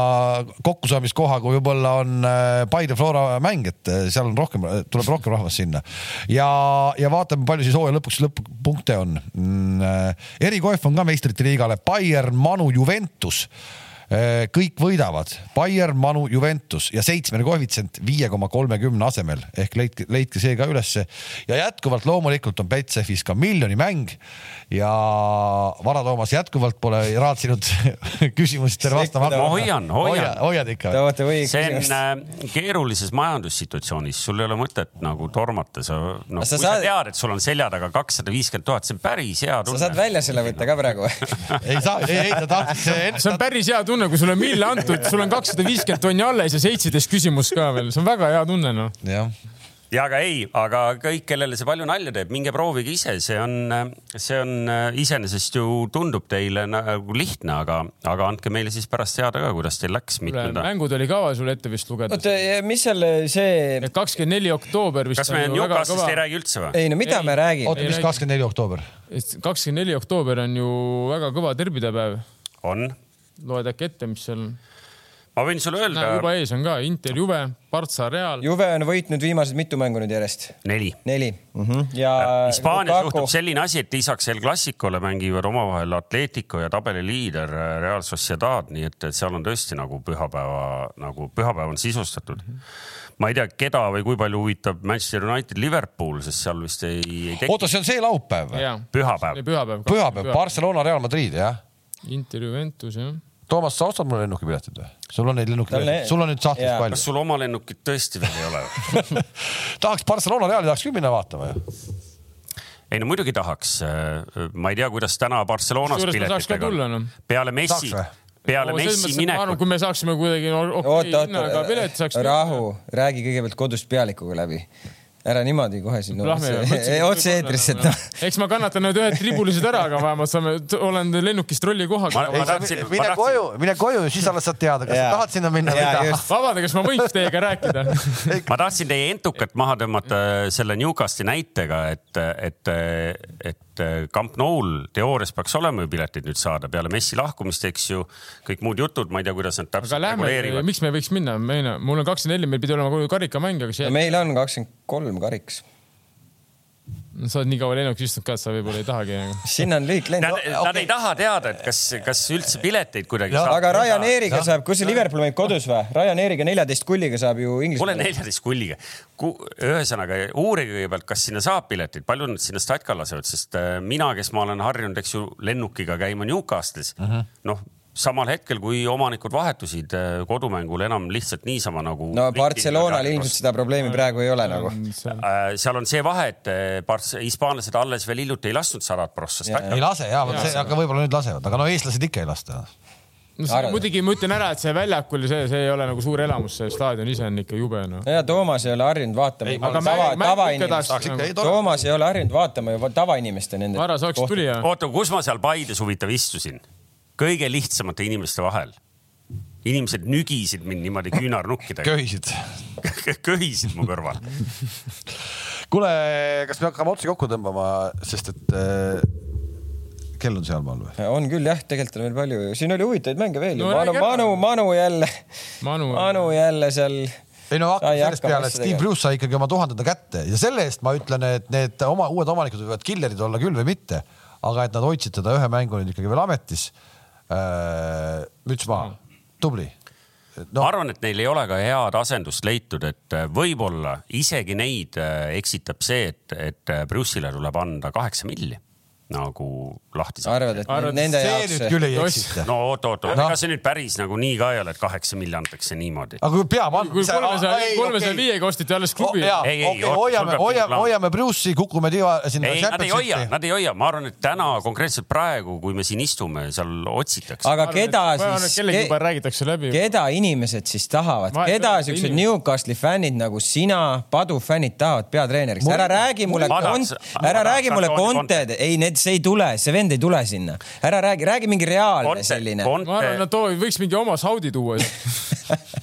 E: kokkusaamiskoha , kui võib-olla on äh, Paide Flora mäng , et äh, seal on rohkem , tuleb rohkem rahvast sinna ja , ja vaatame , palju siis hooaja lõpuks lõpp-punkte on mm, . erikoef on ka meistrite liigale Bayern , Manu , Juventus Äh, kõik võidavad , Bayern , Manu , Juventus ja seitsmene koefitsient viie koma kolmekümne asemel ehk leidke , leidke see ka ülesse ja jätkuvalt loomulikult on Betsafis ka miljonimäng ja Vara-Toomas jätkuvalt pole raatsinud *laughs* küsimustele vastama .
B: Ma hoian, hoian.
E: hoiad ikka või ?
C: Davate või
B: see on äh, keerulises majandussituatsioonis , sul ei ole mõtet nagu tormata , sa noh ,
C: Kas sa
B: kui sa
C: saad-
B: tead , et sul on selja taga kakssada viiskümmend tuhat , see on päris hea
C: sa
B: tunne .
C: saad välja selle võtta ka praegu .
E: ei saa , ei , ei ta tahtis ,
D: see on päris hea tunne , kui sulle on mille antud , sul on kakssada viiskümmend tonni alles ja seitseteist küsimust ka veel , see on väga hea tunne noh .
E: jah ,
B: ja aga ei , aga kõik , kellele see palju nalja teeb , minge proovige ise , see on , see on äh, iseenesest ju tundub teile nagu lihtne , aga , aga andke meile siis pärast teada ka , kuidas teil läks , mitmenda .
D: mängud oli kava sul ette vist lugeda .
C: oota , mis seal see ,
D: kakskümmend neli oktoober vist .
B: kas me Newcastle'ist ei räägi üldse või ?
C: ei no mida
D: Ei.
C: me räägime ,
E: oota , mis kakskümmend neli oktoober ?
D: räägi ? kakskümmend neli oktoober on ju väga kõva terbidepäev .
B: on ,
D: loed äkki ette , mis seal
B: ma võin sulle öelda
D: Näe, juba ees on ka Inter Juve , Partsa Real .
C: Juve on võitnud viimased mitu mängu nüüd järjest ,
B: neli
C: neli mm . -hmm. ja
B: Äh, Hispaanias juhtub selline asi , et lisaks El Clasico'le mängivad omavahel Atletico ja tabeliliider Real Sociedad , nii et , et seal on tõesti nagu pühapäeva , nagu pühapäev on sisustatud . ma ei tea , keda või kui palju huvitab Manchester United Liverpool , sest seal vist ei, ei teki
A: oota , see on see laupäev või ?
B: pühapäev .
D: pühapäev .
A: pühapäev ,. Barcelona , Real Madrid jah .
D: Inter Juventus jah .
A: Toomas , sa ostad mulle lennukipiletid või ? sul on neid
C: Tal-
A: lennukipiletid , sul on nüüd sahtlis
C: jaa.
A: palju
B: kas . sul oma lennukit tõesti veel ei ole *laughs* või ?
A: *laughs* tahaks Barcelona Reali tahaks küll minna vaatama ju .
B: ei no muidugi tahaks . ma ei tea , kuidas täna Barcelonas
D: Kusjuures ma saaks ka
B: piletitega
D: tulla, noh.
B: on . peale messi
A: Saaks või? ,
B: peale messi minekut
D: kui me saaksime kuidagi no, okei
C: oota ,
D: hinnaga pilet saaks
C: oota ,. rahu , räägi kõigepealt kodust pealikuga läbi . ära niimoodi kohe siin no,
D: Lahme
C: *laughs* otse otse-eetris , et noh .
D: eks ma kannatan need ühed tribulised ära , aga vähemalt saame , olen lennukis trolli kohaga
B: Ma
E: ei , sa
B: tahtsin- ma
E: mine
B: tahtsin-
E: koju , mine koju , siis alles saad teada , kas sa
C: Jaa.
E: tahad sinna minna või ei
C: Jaa,
E: taha
C: just. .
D: vabanda , Ah, kas ma võiks teiega rääkida ?
B: ma tahtsin teie entukat maha tõmmata äh, selle Newcastli näitega , et , et , et äh, Camp Nou'l teoorias peaks olema ju piletid nüüd saada peale messi lahkumist , eks ju . kõik muud jutud , ma ei tea , kuidas nad
D: aga
B: täpselt
D: lähme ,
B: reguleerivad .
D: miks me ei võiks minna , meil on , mul on kakskümmend neli , meil pidi olema kogu karikamäng , aga see ,
C: meil on kakskümmend kolm kariks ,
D: sa oled nii kaua lennukis istunud ka , et sa võib-olla ei tahagi .
C: sinna on lühike lend
B: Nad , nad ei taha teada , et kas , kas üldse pileteid kuidagi saab .
C: aga Ryanairiga saab , kus see Liverpool mängib kodus või ? Ryanairiga neljateist kulliga saab ju
B: kuule
C: Inglismaale .
B: neljateist kulliga , ühesõnaga uurige kõigepealt , kas sinna saab piletit , palju nad sinna statka lasevad , sest äh, mina , kes ma olen harjunud , eks ju , lennukiga käima Newcastlis uh ,
C: Mhm.
B: -huh. noh , samal hetkel , kui omanikud vahetusid äh, kodumängul enam lihtsalt niisama nagu .
C: no Barcelonal ilmselt seda probleemi praegu ei ole nagu .
B: seal on see vahe , et äh, Barce- hispaanlased alles veel hiljuti ei lasknud sadat prossa statka .
A: ei lase ja , vot see , aga võib-olla nüüd lasevad , aga no eestlased ikka ei lasta .
D: no see,
C: Arvad?
D: muidugi ma ütlen ära , et see väljakul ja see , see ei ole nagu suur elamus , see staadion ise on ikka jube noh .
C: ja Toomas ei ole harjunud vaatama .
D: aga
C: tava ,
D: mäng- mäng ikka
C: tavainimest
D: tahaks
A: tahaks ikka ,
D: nagu-
A: ei tore .
C: Toomas ei ole harjunud vaatama ju tavainimeste nende .
D: Varra saaks tuli ja .
B: oota , kus ma seal Paides huvitav istusin ? kõige lihtsamate inimeste vahel . inimesed nügisid mind niimoodi küünarnukkidega .
A: köhisid .
B: *laughs* köhisid mu kõrval .
A: *laughs* kuule , kas me hakkame otsi kokku tõmbama , sest et äh, kell on sealmaal või ?
C: Oh, on küll jah , tegelikult on veel palju ju , siin oli huvitavaid mänge veel ju
D: No
C: no, . Manu
D: räägi , ära.
C: Manu , Manu jälle ,
D: Manu ,
C: Manu jälle seal .
A: ei no hakkame sellest peale , et Steve Bruce sai ikkagi oma tuhandenda kätte ja selle eest ma ütlen , et need oma uued omanikud võivad killerid olla küll või mitte , aga et nad hoidsid teda ühe mängu nüüd ikkagi veel ametis . müts maha , tubli .
B: no. ma
A: no
B: arvan , et neil ei ole ka head asendust leitud , et äh, võib-olla isegi neid äh, eksitab see , et , et Brüsselile tuleb anda kaheksa milli . nagu lahti
C: sa arvad , et
D: Arvad,
C: Arvad, nende
A: see
C: jaoks
A: nüüd küll ei
D: Oss.
A: eksita .
B: no oot-oot-oot
A: No. Ah,
B: no. , ega see nüüd päris nagu nii ka ei ole , et kaheksa milli antakse niimoodi .
A: aga kui peab andma .
D: kui kolmesaja , kolmesaja viiega osteti alles klubi
A: jaa ,
B: Ei, ei,
A: okei ,
B: oot,
A: hoiame ,
B: sul peab
A: hoiame ,
B: plaan.
A: hoiame Bruce'i , kukume tiiva sinna .
B: ei , nad ei hoia , nad ei hoia , ma arvan , et täna konkreetselt praegu , kui me siin istume , seal otsitakse .
C: aga keda siis ,
D: kellegi juba räägitakse läbi .
C: keda inimesed siis tahavad
D: Ma- ,
C: keda
D: ma-
C: siuksed
D: inimesed.
C: Newcastle'i fännid nagu sina , Padu fännid tahavad peatreeneriks ? ära räägi mulle
B: ma tahaks-
C: kont- ,
B: ma
C: ära
B: tahaks
C: räägi mulle
B: Antonio Contet.
C: Conted , ei , need , see ei tule , see vend ei tule sinna . ära räägi , räägi mingi reaalne selline .
D: ma arvan , nad too- võiks mingi oma Saudi tuua .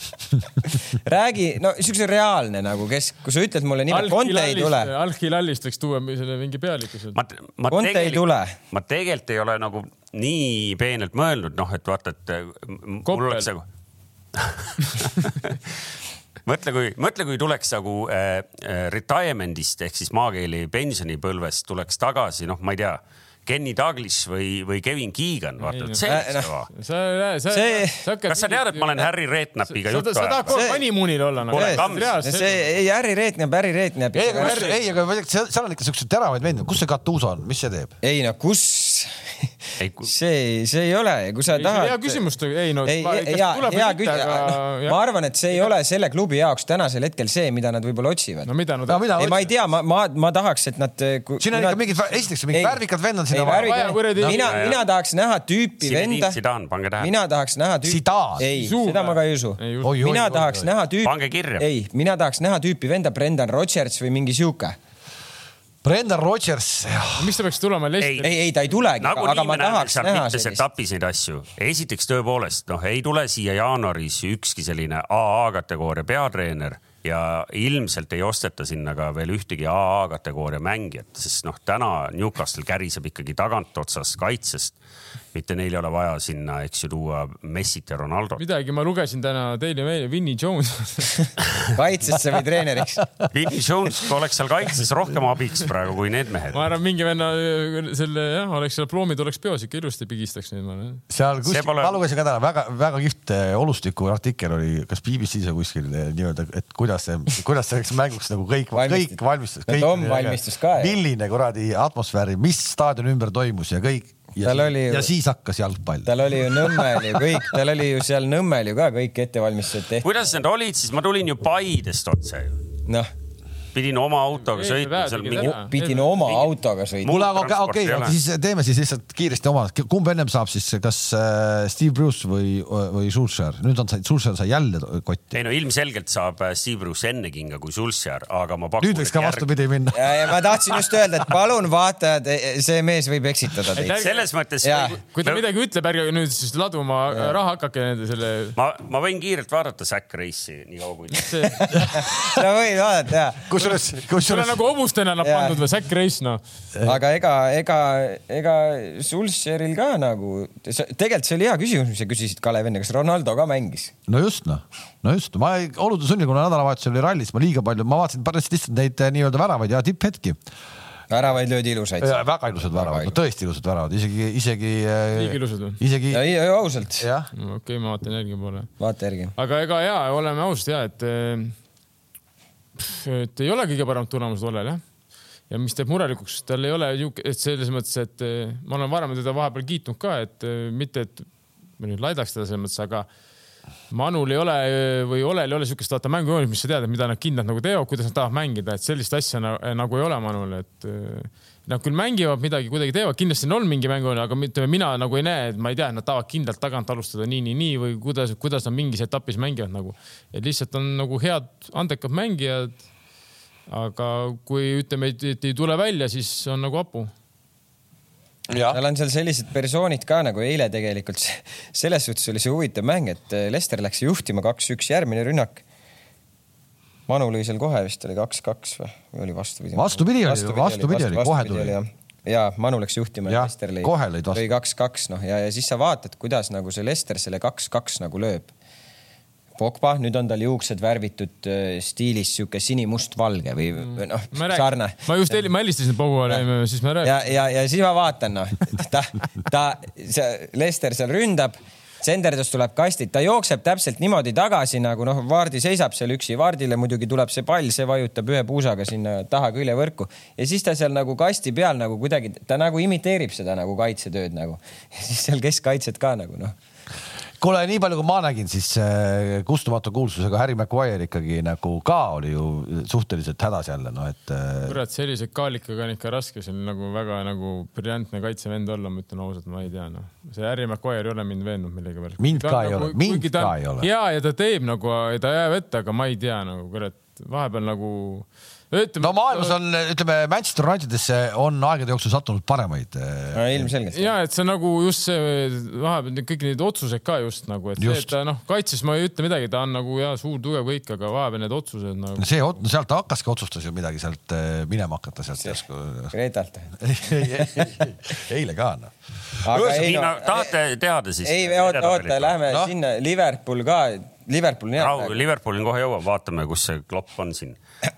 C: *laughs* räägi , no siukse reaalne nagu , kes , kui sa ütled mulle nime , Conte ei tule .
D: Al-Hilalist võiks tuua selle mingi pealiku seal .
B: ma , ma
C: Conte ei
B: tegelikult-
C: tule.
B: ma tegelikult ei ole nagu nii peenelt mõelnud , noh , et vaata , et m- mul
D: Koppel.
B: oleks nagu *laughs* mõtle , kui , mõtle , kui tuleks nagu äh, äh, retirement'ist ehk siis maakeeli pensionipõlvest tuleks tagasi , noh , ma ei tea , Kenny Douglas või , või Kevin Keegan , vaata , et see
C: Äh,
B: oleks
C: noh.
B: kõva .
D: sa , sa ,
C: See-
D: sa hakkad .
B: kas sa tead , et ma olen Harry Redknapiga
D: sa
B: juttu
D: sa tahad
B: ajanud ?
D: kogu
C: See-
D: aeg honeymoonil olla nagu
B: Kuule, . kamps.
C: see ei , äri reetneb , äri reetneb .
A: ei , aga , ei , aga ma ei tea, seal seal on ikka siukseid teravaid vendi , kus see Katuuso on , mis see teeb ?
C: ei no kus ,
B: Ei, ku-
C: see , see ei ole , kui sa
D: Ei, see oli
C: tahad .
D: hea küsimus , ei no .
C: ei , hea , hea küsimus , ma arvan , et see ei ole selle klubi jaoks tänasel hetkel see , mida nad võib-olla otsivad
D: no . mida nad
A: no . mina
C: ei , ma ei . tea , ma , ma , ma tahaks , et nad .
A: Siin on ikka mingid vä- esiteks mingid värvikad vennad sinna vaja.
D: Vaja kuradi-
C: mina ,
B: Jaa, jaa.
C: mina tahaks näha tüüpi
B: Zinedine
C: venda .
B: Zidane, pange tähele.
C: mina tahaks näha tüüpi
A: Zidane. .
C: ei ,
D: Zidane.
C: seda ma ka ei usu .
D: Ei usu.
A: Oi, oi,
C: mina
A: oi,
C: tahaks
A: oi.
C: näha tüüpi .
B: Pange kirja.
C: ei , mina tahaks näha tüüpi venda Brendan Rodgers või mingi sihuke .
A: Brendan Rodgers ,
D: miks ta peaks tulema Leicesteri ?
C: ei , ei ta ei tulegi ,
B: nagu
C: aga
B: nii
C: ma
B: me näeme
C: tahaks
B: seal
C: näha
B: mitmes
C: sellist .
B: etapis neid asju . esiteks tõepoolest noh , ei tule siia jaanuaris ükski selline AA kategooria peatreener ja ilmselt ei osteta sinna ka veel ühtegi AA kategooria mängijat , sest noh , täna Newcastle käriseb ikkagi tagantotsas kaitsest . mitte neil ei ole vaja sinna , eks ju , tuua Messit ja Ronaldot .
D: midagi ma lugesin täna Daily Maili , Vinnie
C: *laughs*
D: Jones .
C: kaitsesse või treeneriks .
B: Vinny Jones oleks seal kaitses rohkem abiks praegu kui need mehed .
D: ma arvan , mingi venna selle jah , oleks seal ploomid oleks peos ikka ilusti pigistaks neid ma arvan .
A: seal
B: See
A: kuskil ,
B: pole-
A: ma lugesin ka täna väga-väga kihvt eh, olustiku artikkel oli , kas BBC-s või kuskil eh, nii-öelda , et kuidas see , kuidas selleks mänguks nagu kõik ,
C: Valmistud.
A: kõik valmistus .
C: No Tom valmistus ka, jah.
A: milline kuradi atmosfääri , mis staadioni ümber toimus ja kõik . ja,
C: Tal oli ju-
A: ja siis hakkas jalgpall .
C: tal oli ju Nõmmel ju kõik , tal oli ju seal Nõmmel ju ka kõik ettevalmistused tehtud ,
B: kuidas need olid siis , ma tulin ju Paidest otse ju .
C: noh ,
B: pidin oma autoga sõitma seal mingi
C: pidin oma autoga sõitma .
A: mul aga
B: transporti
A: okei
B: ei ole.
A: okay, , siis teeme siis lihtsalt kiiresti oma , kumb ennem saab siis , kas eh, Steve Bruce või , või Schulzer , nüüd on , Schulzer sai jälle kotti .
B: ei no ilmselgelt saab äh, Steve Bruce enne kinga kui Sulsjar , aga ma pakun .
A: nüüd võiks ka . vastupidi minna .
C: ja , ja ma tahtsin just öelda , et palun vaatajad , see mees võib eksitada teid .
B: selles mõttes nagu
C: Jaa. ,
D: kui ta midagi ütleb , ärge nüüd siis laduma raha hakake nende selle .
B: ma , ma võin kiirelt vaadata Zack Race'i nii kaua kui .
C: *laughs*
D: see ,
C: sa võid vaadata ja ,
A: kusjuures ,
D: see on
A: kusjuures
D: nagu hobustena nad
C: Jaa.
D: pandud või Zack Race noh .
C: aga ega , ega , ega Sulcheril ka nagu , tegelikult see oli hea küsimus , mis sa küsisid , Kalev , enne , kas Ronaldo ka mängis ?
A: no just noh , no just , ma ei- olude sunnil , kuna nädalavahetusel oli rallis , ma liiga palju , ma vaatasin päris lihtsalt neid eh, nii-öelda väravaid ja tipphetki .
C: väravaid löödi ilusaid .
A: väga ilusad väravad , no tõesti ilusad väravad , isegi , isegi .
D: Liiga ilusad või?
A: isegi
C: ei , ei ausalt ,
A: jah ,
D: okei okay, , ma vaatan järgi poole
C: vaata järgi .
D: aga ega ja oleme ausad ja et , et ei ole kõige paremad tulemused Olel jah . ja mis teeb murelikuks , tal ei ole niuke , et selles mõttes , et eh, ma olen varem teda vahepeal kiitnud ka , et eh, mitte , et ma nüüd laidaks teda selles mõttes , aga Manul ei ole eh, või Olel ei ole siukest vaata mängujoonist , mis sa tead , et mida nad kindlalt nagu teevad , kuidas nad tahavad mängida , et sellist asja na- nagu ei ole Manul , et eh, nad küll mängivad midagi , kuidagi teevad , kindlasti on mingi mängujoon , aga ütleme , mina nagu ei näe , et ma ei tea , et nad tahavad kindlalt tagant alustada nii , nii , nii või kuidas , kuidas nad mingis etapis mängivad nagu . et lihtsalt on nagu head andekad mängijad . aga kui ütleme , et et ei tule välja , siis on nagu hapu .
C: tal on seal sellised persoonid ka nagu eile tegelikult . *laughs* selles suhtes oli see huvitav mäng , et äh, Lester läks juhtima kaks-üks , järgmine rünnak . Manu lõi seal kohe vist oli kaks-kaks või , või oli vastupidi ?
A: Vastupidi oli, vastupidi oli, kohe tuli.
C: ja Manu läks juhtima
A: Jah,
C: ja, ja Lester lõi ,
A: kohe lõid vastu.
C: lõi kaks-kaks , noh ja , ja siis sa vaatad , kuidas nagu see Lester selle kaks-kaks nagu lööb . Pogba , nüüd on tal juuksed värvitud äh, stiilis sihuke sinimustvalge või või noh ,
D: Mm. ma
C: sarne
D: räägin , ma just heli- , ma helistasin Pogule , siis ma rääkisin .
C: ja , ja , ja siis ma vaatan , noh , ta , ta , see Lester seal ründab , tsenderdus tuleb kastid , ta jookseb täpselt niimoodi tagasi nagu noh , Vaardi seisab seal üksi , Vaardile muidugi tuleb see pall , see vajutab ühe puusaga sinna taha küljevõrku ja siis ta seal nagu kasti peal nagu kuidagi , ta nagu imiteerib seda nagu kaitsetööd nagu ja siis seal keskkaitset ka nagu noh .
A: kuule , nii palju , kui ma nägin , siis äh, kustumatu kuulsusega Harry Maguire ikkagi nagu ka oli ju suhteliselt hädas jälle , noh et äh,
D: kurat , sellise kaalikaga on ikka raske seal nagu väga nagu briljantne kaitsevend olla , ma ütlen ausalt , ma ei tea noh . see Harry Maguire ei ole mind veennud millegipärast .
A: Mind ka ei
D: nagu
A: ole, mind ka ei ole.
D: ja , ja ta teeb nagu , ta jääb ette , aga ma ei tea nagu kurat , vahepeal nagu .
A: no maailmas . on , ütleme Manchester Unitedisse on aegade jooksul sattunud paremaid äh,
C: ilmselgelt .
D: ja et see nagu just see vahepeal need kõik need otsused ka just nagu , et see ,
A: Just.
D: et ta noh , kaitses ma ei ütle midagi , ta on nagu ja suur tugev kõik , aga vahepeal need otsused
A: *laughs*
D: nagu . *laughs*
A: see , sealt ta hakkaski , otsustas ju midagi sealt äh, minema hakata sealt järsku .
C: Gretalt .
A: *laughs* eile ka noh .
B: nii no, , tahate teada siis ?
C: ei , oota , oota , nagu. lähme
A: Noh.
C: no. . sinna , Liverpool ka , Liverpool nii
B: rahu ,. Liverpoolini kohe jõuab , vaatame , kus see klopp on siin .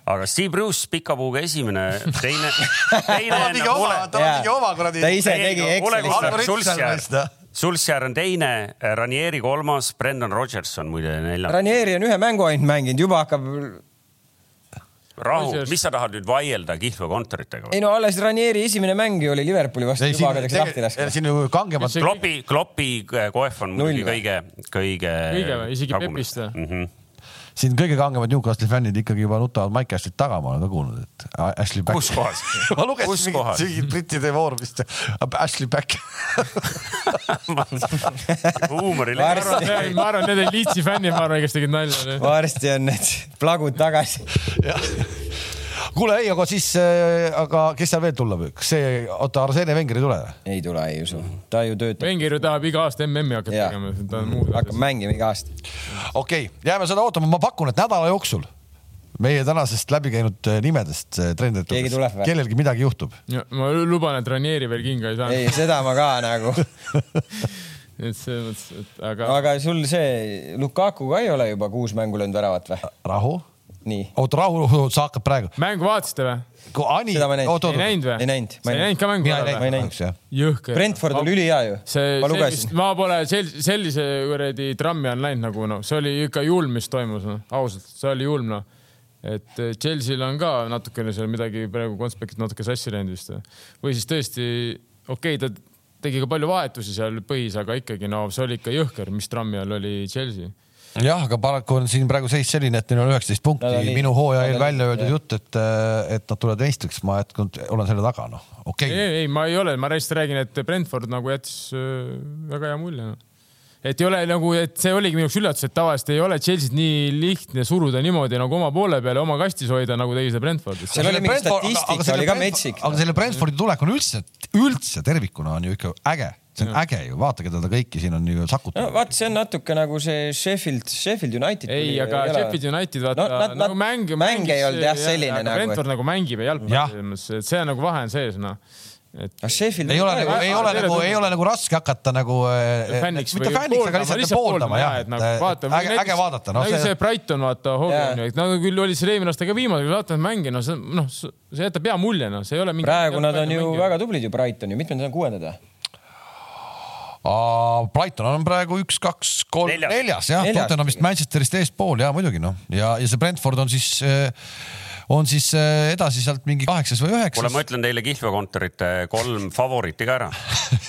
B: aga Steve Bruce pika puuga esimene , teine ,
C: *laughs*
B: teine
A: oma ,
B: on
A: ta tegi oma kuradi
C: ta . ise tegi Excelis
A: Algo Ritsal vist, jah.
B: Sulsjär , Sulsjär on teine , Ranieri kolmas , Brendan Rodgers on muide neljas .
C: Ranieri on ühe mängu ainult mänginud , juba hakkab ,
B: rahu
D: Rodgers- ,
B: mis sa tahad nüüd vaielda kihlvekontoritega või ?
C: ei no alles Ranieri esimene mäng ju oli Liverpooli vastu , juba hakatakse lahti laskma .
A: siin ju kangemad ,
B: klopi , klopi äh, koef on muidugi
C: Null või?
B: kõige , kõige . Mhm.
D: Kõige või? Isegi Pepist või?
B: või ?
A: siin kõige kangemad Newcastle'i fännid ikkagi juba nutavad Mike Ashley't taga , ma olen ka kuulnud , et Ashley Back .?
B: kus kohas
A: *laughs* ma lugesin mingit
B: kohas?
A: mingit brittide voor vist , Ashley Back . *laughs*
B: huumorileht .
C: varsti ,
D: ma arvan , need olid Leedsi fännid , ma arvan , kes tegid nalja .
A: *laughs*
C: varsti on need plagud tagasi .
A: kuule , ei , aga siis , aga kes seal veel tulla võib , kas see , oota , Arsene Wenger ei tule või ?
C: ei tule , ei usu , ta ju töötab ,
D: Wenger ju tahab iga aasta MM-i hakata
C: Jaa.
D: tegema , ta on muud
C: hakkab
D: asjad .
C: mängima iga aasta .
A: okei okay, , jääme seda ootama , ma pakun , et nädala jooksul meie tänasest läbi käinud eh, nimedest ,
C: Keegi tuleb
A: treeneritest
C: või? ,
A: kellelgi midagi juhtub .
D: ma luban , et Ranieri veel kinga ei
C: ei
D: saanud .,
C: seda ma ka nagu ,
D: *laughs* et selles mõttes , et aga
C: aga sul see Lukaku ka ei ole juba kuus mängu löönud väravat või ?
A: rahu ,
C: nii ,
A: oota rahu , sa hakkad praegu .
D: mängu vaatasite või ?
A: Ani ,
C: Seda ma ei näinud.
A: oota ,
D: ei
A: oota ,
D: näinud või ?
C: Ei näinud, ma
D: sa
C: ei
D: ei näinud ka mängu
A: mina ei
D: ära või ?
A: näinud
C: näinud.
A: kahjuks jah .
D: jõhker .
C: Brentford oli ülihea ju ,
D: see ,
C: ma
D: see ,
C: lugesin .
D: ma pole sel- , sellise kuradi trammi all läinud nagu noh , see oli ikka julm , mis toimus , noh , ausalt , see oli julm , noh . et eh, Chelsea'l on ka natukene seal midagi praegu konspektid natuke sassi läinud vist või? või siis tõesti , okei okay, , ta tegi ka palju vahetusi seal põhis , aga ikkagi no see oli ikka jõhker , mis trammi all oli Chelsea .
A: jah , aga paraku on siin praegu seis selline , et neil on üheksateist punkti
C: Nad on , nii-
A: minu hooaja eel
C: nad on
A: välja
C: nii-
A: öeldud
C: jah.
A: jutt , et , et nad tulevad meistriks , ma jätkuvalt olen selle taga , noh , okei
D: ei ,
A: okay. .
D: ei , ma ei ole , ma lihtsalt räägin , et Brentford nagu jättis öö, väga hea mulje no. . et ei ole nagu , et see oligi minu jaoks üllatus , et tavaliselt ei ole Chelsea't nii lihtne suruda niimoodi nagu oma poole peale , oma kastis hoida , nagu tegi seda Brentfordis .
C: seal oli mingi statistika , oli ka metsik .
A: aga selle Brentfordi tulek on üldse , üldse tervikuna on ju ikka äge , see on äge ju , vaata , keda ta kõiki siin on ju
C: no
A: sakutanud .
C: vaat see on natuke nagu see Sheffield , Sheffield United .
D: ei , aga Sheffield United vaata
C: no, , nad,
D: nagu mäng .
C: mäng ei olnud jah selline
D: nagu .
C: nagu .
D: Brentford nagu mängib ja
A: Jah.
D: jalgpalli selles mõttes , et see on nagu vahe on sees noh . et
C: aga Sheffield
A: ei ole nagu ,
D: väga-
A: ei ole
D: tere
A: nagu ,
D: tulemast.
A: ei ole nagu raske hakata nagu äh,
D: fänniks
A: mitte fänniks , aga lihtsalt pooldama jah , et
D: nagu, vaata, nagu
A: äh, äge , äge vaadata , noh
D: see .
A: see
D: see Brighton vaata ,
C: Jaa.
D: Hogan ju , et nad küll oli seal eelmine aasta ka viimane , kui vaatad mänge , no see , noh , see jätab hea mulje , noh , see ei ole mingi .
C: praegu nad on ju . väga tublid ju , Brighton ju , mitmed nad on kuuendad või ?
A: Aa, Brighton on praegu üks , kaks , kolm ,
B: Neljas.
A: neljas jah ,
C: Neljas.
A: Tottenhamist Manchesterist eespool ja muidugi noh , ja , ja see Brentford on siis , on siis äh, edasi sealt mingi kaheksas või
B: kuule , ma
A: üheksas .
B: ütlen teile kihlvekontorite kolm favoriiti ka ära .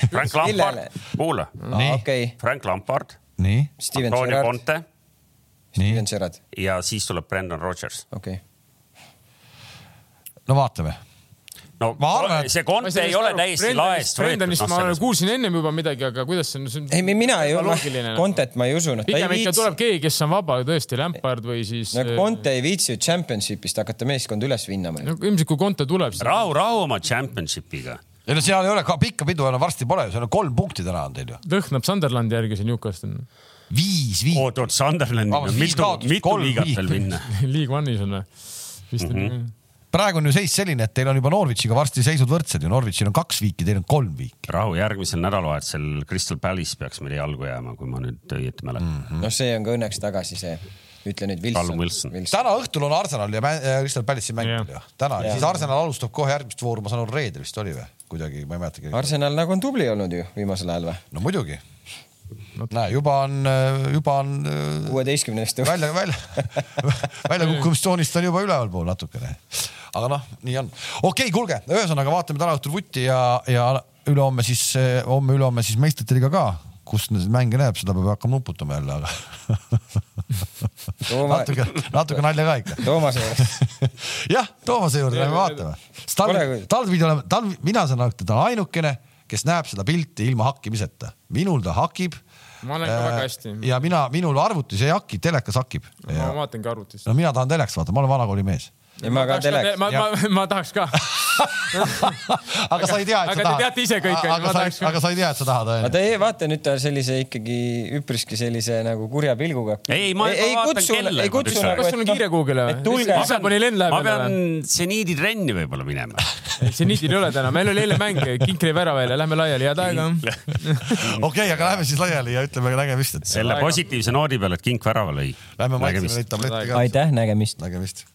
B: Frank Lampard
C: Millele? ,
B: kuula ,
C: Ah, okei okay. ,
B: Frank Lampard ,
A: nii ,
C: Steven
B: Antonio
C: Gerrard ,
B: Conte
A: nii
C: Steven , Gerrard ,
B: ja siis tuleb Brendan Rodgers .
C: okei okay. .
A: no vaatame .
B: no
A: Ma arvan, et-
B: see Conte ei ole täiesti laest võetud . noh,
D: Brendanist ma kuulsin ennem juba midagi , aga kuidas see on , see
C: ei ,
D: on
C: mina ei ,
D: loogiline .
C: Contet ma ei usunud , ta ei
D: pigem ikka
C: viitsi
D: tuleb . keegi , kes on vaba tõesti , Lampard või siis . äh,
C: no Conte ei viitsi ju championship'ist hakata meeskonda üles vinnama . noh.
D: no ilmselt kui Conte tuleb , siis
B: rahu , rahu oma championship'iga .
A: ei no seal ei ole , pikka pidu enam varsti pole , seal on kolm punkti täna on teil ju .
D: lõhnab Sunderlandi järgi see Newcastle .
A: viis , viis .
B: oot , oot , Sunderland ,
A: Vabandust, viis
B: mitu
A: kaotust, ,
B: mitu
A: kolm
B: liigat
A: viiki.
B: veel minna ?
D: *laughs* League One'is on või ? vist
B: Mhm.
D: on ju .
A: praegu on ju seis selline , et teil on juba Norwichiga varsti seisud võrdsed ju , Norwichil on kaks viiki , teil on kolm viiki .
B: rahu , järgmisel nädalavahetusel Crystal Palace peaks meile jalgu jääma , kui ma nüüd õieti mäletan mm. .
C: noh , see on ka õnneks tagasi see , ütle nüüd
B: Callum Wilson.
C: Wilson .
A: täna õhtul on Arsenal ja Mä- ja Crystal Palace'i mäng
D: Jah.
A: veel ju , täna ja
C: Jah.
A: siis Arsenal alustab kohe järgmist vooru , ma saan aru , reedel vist oli või kuidagi , ma ei mäletagi .
C: Arsenal nagu on tubli olnud ju viimasel ajal või ?
A: no muidugi , näe , juba on , juba on äh,
C: kuueteistkümnest .
A: välja , välja , väljakukkumistsoonist on juba ülevalpool natukene . aga noh , nii on . okei okay, , kuulge , ühesõnaga vaatame täna õhtul vutti ja , ja ülehomme siis , homme-ülehomme siis meistrite liiga ka kus neid mänge näeb , seda peab hakkama nuputama jälle , aga *laughs*
C: Tooma-
A: natuke , natuke nalja ka ikka .
C: Toomase juures .
A: *laughs* jah , Toomase juurde lähme vaatame . Talv
C: Tore, kui- ,
A: Talv pidi olema , Talv , mina saan aru , et ta on ainukene , kes näeb seda pilti ilma hakkimiseta . minul ta hakib .
D: Ma näen ka väga hästi.
A: ja mina , minul arvutis ei haki , telekas hakib .
D: ma
A: no
D: vaatangi arvutist .
A: mina tahan telekast vaadata , ma olen vanakooli mees .
C: ja ma ka teleks .
D: ma , ma , ma tahaks ka .
A: aga sa ei tea , et sa
D: aga te
A: tahad .
D: teate ise kõike, ma
A: aga sa
D: tahaks ka. ,
A: aga sa ei tea , et sa tahad ,
C: aga
A: onju .
C: ta ei vaata nüüd ta sellise ikkagi üpriski sellise nagu kurja pilguga .
B: Ei, ma- ma vaatan kella
C: ei
B: juba
C: kutsu
B: tükk aega.
C: nagu .
D: Kas sul on kiire Google'i või?
C: või ? tulge
D: Ma pean- . Lissaboni lenn läheb
B: ma
D: jälle
B: pean seniidi trenni võib-olla minema .
D: seniidil ei ole täna , meil oli eile mäng , kink jäi värava jälle , lähme laiali , head aega .
A: okei , aga lähme siis laiali ja ütleme nägemist , et
B: selle positiivse noodi peale , et kink värava lõi .
A: lähme maitseme neid tablette ka .
C: aitäh nägemist .
A: nägemist